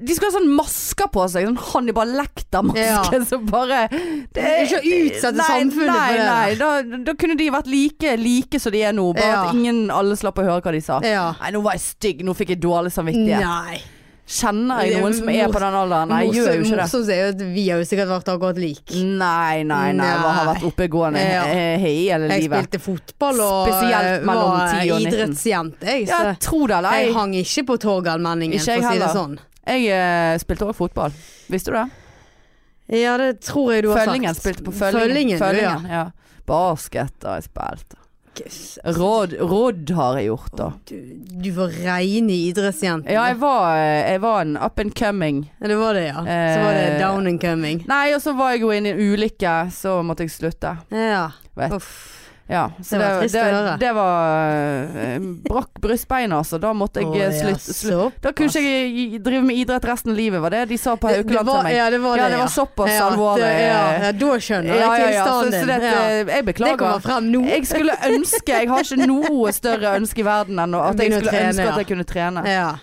Speaker 1: De skulle ha sånn masker på seg, sånn Hannibal Lecter-maske
Speaker 2: Ja.
Speaker 1: som bare det,
Speaker 2: Ikke utsette
Speaker 1: Nei,
Speaker 2: samfunnet
Speaker 1: nei,
Speaker 2: for det.
Speaker 1: Nei, da, da kunne de vært like like som de er nå, bare
Speaker 2: Ja.
Speaker 1: at ingen alle slapp å høre hva de sa.
Speaker 2: Ja.
Speaker 1: Nei, nå var jeg stygg, nå fikk jeg dårlig samvittighet.
Speaker 2: Nei.
Speaker 1: Kjenner jeg noen som er på den alderen? Nei, jeg gjør jo ikke det. Mm,
Speaker 2: Morsomt er jo at vi har jo sikkert vært akkurat lik.
Speaker 1: Nei, nei, nei. Hva har vært oppegående
Speaker 2: Ja.
Speaker 1: he- hele
Speaker 2: Jeg
Speaker 1: livet?
Speaker 2: spilte fotball og
Speaker 1: Spesielt
Speaker 2: eh,
Speaker 1: mellom
Speaker 2: var
Speaker 1: 10 og 19.
Speaker 2: idrettsjente, jeg. Så
Speaker 1: Ja, tro det eller ei.
Speaker 2: jeg hang ikke på Torgallmenningen,
Speaker 1: Ikke
Speaker 2: for
Speaker 1: jeg
Speaker 2: å si det
Speaker 1: heller.
Speaker 2: sånn.
Speaker 1: Jeg eh, spilte òg fotball. Visste du det?
Speaker 2: Ja, det tror jeg du har
Speaker 1: Følgingen
Speaker 2: sagt.
Speaker 1: spilte på Følgingen.
Speaker 2: Følgingen, du,
Speaker 1: Følgingen, ja. Basket har jeg spilt. Råd, råd har jeg gjort, da.
Speaker 2: Du, du var reine idrettsjente.
Speaker 1: Ja, jeg var, eh, jeg var en up and coming.
Speaker 2: Ja, det var det, ja. Så var det
Speaker 1: Eh,
Speaker 2: down and coming.
Speaker 1: Nei, og så var jeg jo inne i en ulykke, så måtte jeg slutte.
Speaker 2: Ja.
Speaker 1: Vet.
Speaker 2: Uff.
Speaker 1: Ja, så det,
Speaker 2: Det var
Speaker 1: det,
Speaker 2: trist å høre.
Speaker 1: det var eh, Brakk brystbeinet, altså. Da måtte jeg eh,
Speaker 2: Å, ja,
Speaker 1: slutte. Slutt.
Speaker 2: såpass.
Speaker 1: Da kunne ikke jeg i- drive med idrett resten av livet, var det de sa på
Speaker 2: Det- det
Speaker 1: Haukeland til
Speaker 2: var-
Speaker 1: meg?
Speaker 2: Ja, det var det.
Speaker 1: Ja, det var såpass alvorlig.
Speaker 2: det- Ja, ja, da skjønner
Speaker 1: Ja, ja,
Speaker 2: jeg
Speaker 1: ja. Så,
Speaker 2: tilstanden
Speaker 1: så
Speaker 2: din.
Speaker 1: det,
Speaker 2: ja.
Speaker 1: eh, jeg
Speaker 2: Det kommer
Speaker 1: beklager.
Speaker 2: frem nå.
Speaker 1: Jeg skulle ønske Jeg har ikke noe større ønske i verden enn at jeg
Speaker 2: Begynne å
Speaker 1: skulle
Speaker 2: trene,
Speaker 1: ønske
Speaker 2: ja.
Speaker 1: at jeg kunne trene.
Speaker 2: Ja.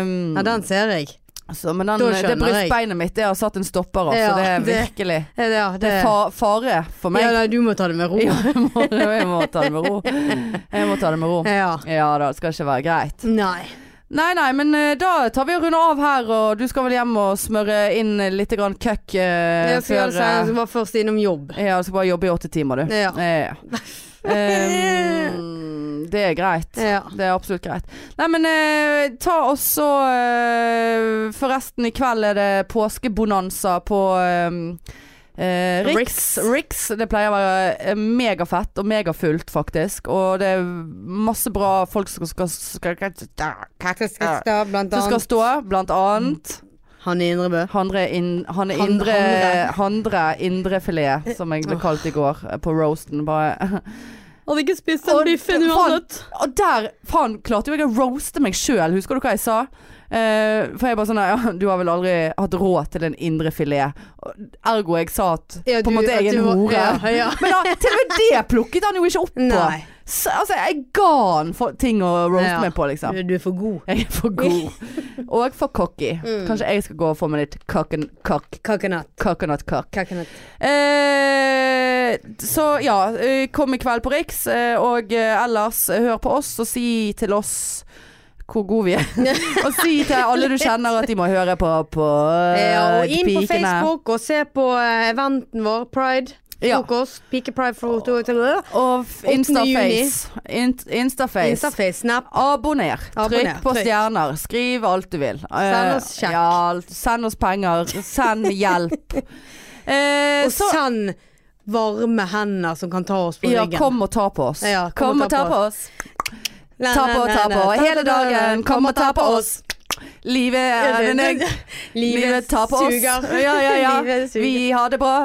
Speaker 1: Um,
Speaker 2: ja, den ser jeg.
Speaker 1: så, men den,
Speaker 2: Da
Speaker 1: det
Speaker 2: skjønner jeg.
Speaker 1: brystbeinet mitt Det har satt en stopper, altså.
Speaker 2: Ja,
Speaker 1: det er
Speaker 2: det-
Speaker 1: virkelig
Speaker 2: Ja, det, ja,
Speaker 1: Det er fa fare for meg.
Speaker 2: Ja, nei, du må ta det med ro.
Speaker 1: Ja, jeg må, jeg må ta det med ro. Jeg må ta det med ro.
Speaker 2: Ja.
Speaker 1: Ja da, det skal ikke være greit.
Speaker 2: Nei.
Speaker 1: Nei nei, men eh, da tar vi og runder av her, og du skal vel hjem og smøre inn litt grann køkk eh,
Speaker 2: Jeg skal gjøre
Speaker 1: før
Speaker 2: det senere,
Speaker 1: eh,
Speaker 2: så var først innom jobb.
Speaker 1: Ja, du skal bare jobbe i åtte timer, du.
Speaker 2: Ja.
Speaker 1: Eh, mm, det er greit.
Speaker 2: Ja.
Speaker 1: Det er absolutt greit. Nei, men eh, ta også eh, Forresten, i kveld er det påskebonanza på eh, eh, Rix.
Speaker 2: Rix.
Speaker 1: Rix. Det pleier å være eh, megafett og megafullt, faktisk. Og det er masse bra folk som skal, skal, skal, skal
Speaker 2: Kristianstad, blant
Speaker 1: som skal
Speaker 2: annet.
Speaker 1: stå, blant annet
Speaker 2: Han i Indrebø.
Speaker 1: Handre, inn- han er
Speaker 2: Han-
Speaker 1: indre,
Speaker 2: handre.
Speaker 1: handre indrefilet, som jeg ble kalt i går eh, på roasten. Bare.
Speaker 2: Hadde ikke spist
Speaker 1: den biffen uansett. Og der, faen, klarte jo jeg å roaste meg sjøl, husker du hva jeg sa? Eh, for jeg bare sånn ja, Du har vel aldri hatt råd til en indrefilet? Ergo jeg sa at
Speaker 2: Ja,
Speaker 1: på en
Speaker 2: du-
Speaker 1: måte jeg
Speaker 2: at
Speaker 1: er en
Speaker 2: du var-
Speaker 1: hore.
Speaker 2: ja, ja.
Speaker 1: Men da, til og med det plukket han jo ikke opp på.
Speaker 2: Nei.
Speaker 1: Så, altså, jeg ga han for ting å roaste
Speaker 2: Ja.
Speaker 1: meg på, liksom.
Speaker 2: Du, du er for god.
Speaker 1: Jeg er for god. Og for cocky.
Speaker 2: Mm.
Speaker 1: Kanskje jeg skal gå og få meg litt cocken, cock,
Speaker 2: Kakenett.
Speaker 1: coconut cock.
Speaker 2: Kakenett.
Speaker 1: Eh, så ja, eh, kom i kveld på Riks, eh, og eh, ellers eh, hør på oss og si til oss hvor gode vi er. og si til alle du kjenner at de må høre på på eh,
Speaker 2: Ja, og inn på
Speaker 1: Pikene.
Speaker 2: Facebook og se på eh, eventen vår, Pride.
Speaker 1: Ja.
Speaker 2: Frokost. Pikepride for to
Speaker 1: Og f-
Speaker 2: 8.
Speaker 1: Instaface. In Instaface.
Speaker 2: Instaface,
Speaker 1: Eh,
Speaker 2: Snap.
Speaker 1: Abonner.
Speaker 2: Abonner,
Speaker 1: Trykk på
Speaker 2: trykk.
Speaker 1: stjerner. Skriv alt du vil.
Speaker 2: Send oss
Speaker 1: Eh,
Speaker 2: kjekk.
Speaker 1: Ja, alt. send oss penger. Send hjelp. Eh,
Speaker 2: Og send varme hender som kan ta oss på
Speaker 1: ja,
Speaker 2: ryggen.
Speaker 1: kom og ta på oss.
Speaker 2: Ja, kom og ta på
Speaker 1: oss. Ta på, ta på. Hele dagen. Kom og ta på oss. Livet er en øgg. Livet tar på oss.
Speaker 2: suger.
Speaker 1: Ja, ja, ja.
Speaker 2: Livet suger.
Speaker 1: Vi har det bra.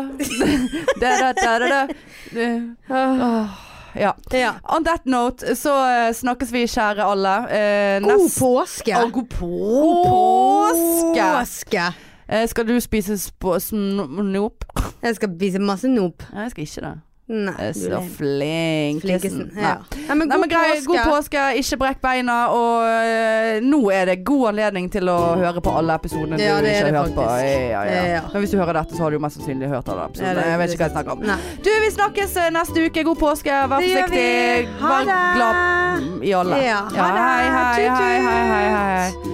Speaker 1: Da, da, da, da, da. Åh, Ah. Ja.
Speaker 2: Ja.
Speaker 1: On that note så eh, snakkes vi, kjære alle. eh,
Speaker 2: God
Speaker 1: nest-
Speaker 2: påske.
Speaker 1: Å, god påske!
Speaker 2: Påske.
Speaker 1: Eh, skal du spise sp snop?
Speaker 2: Jeg skal spise masse nop.
Speaker 1: Nei, jeg skal ikke det.
Speaker 2: Nei,
Speaker 1: Jeg er
Speaker 2: du
Speaker 1: Eh, så
Speaker 2: er
Speaker 1: flink.
Speaker 2: flinkesen.
Speaker 1: Nei.
Speaker 2: Ja. Nei,
Speaker 1: Nei,
Speaker 2: men god
Speaker 1: men grei, god
Speaker 2: påske.
Speaker 1: påske, ikke brekk beina, og eh, nå er det god anledning til å høre på alle episodene
Speaker 2: Ja,
Speaker 1: du
Speaker 2: det er
Speaker 1: ikke har hørt
Speaker 2: det
Speaker 1: på.
Speaker 2: faktisk.
Speaker 1: Ja, ja, ja.
Speaker 2: Ja.
Speaker 1: Men hvis du hører dette, så har du jo mest sannsynlig hørt alle
Speaker 2: Ja,
Speaker 1: episodene.
Speaker 2: det-
Speaker 1: Jeg vet ikke hva jeg snakker om.
Speaker 2: Nei.
Speaker 1: Du, vi snakkes eh, neste uke. God påske. Vær
Speaker 2: Det gjør
Speaker 1: forsiktig.
Speaker 2: vi. Ha
Speaker 1: Vær
Speaker 2: det.
Speaker 1: glad i alle.
Speaker 2: Ja, ha det.
Speaker 1: hei, hei,
Speaker 2: Tut, tut.
Speaker 1: hei, hei, hei, hei.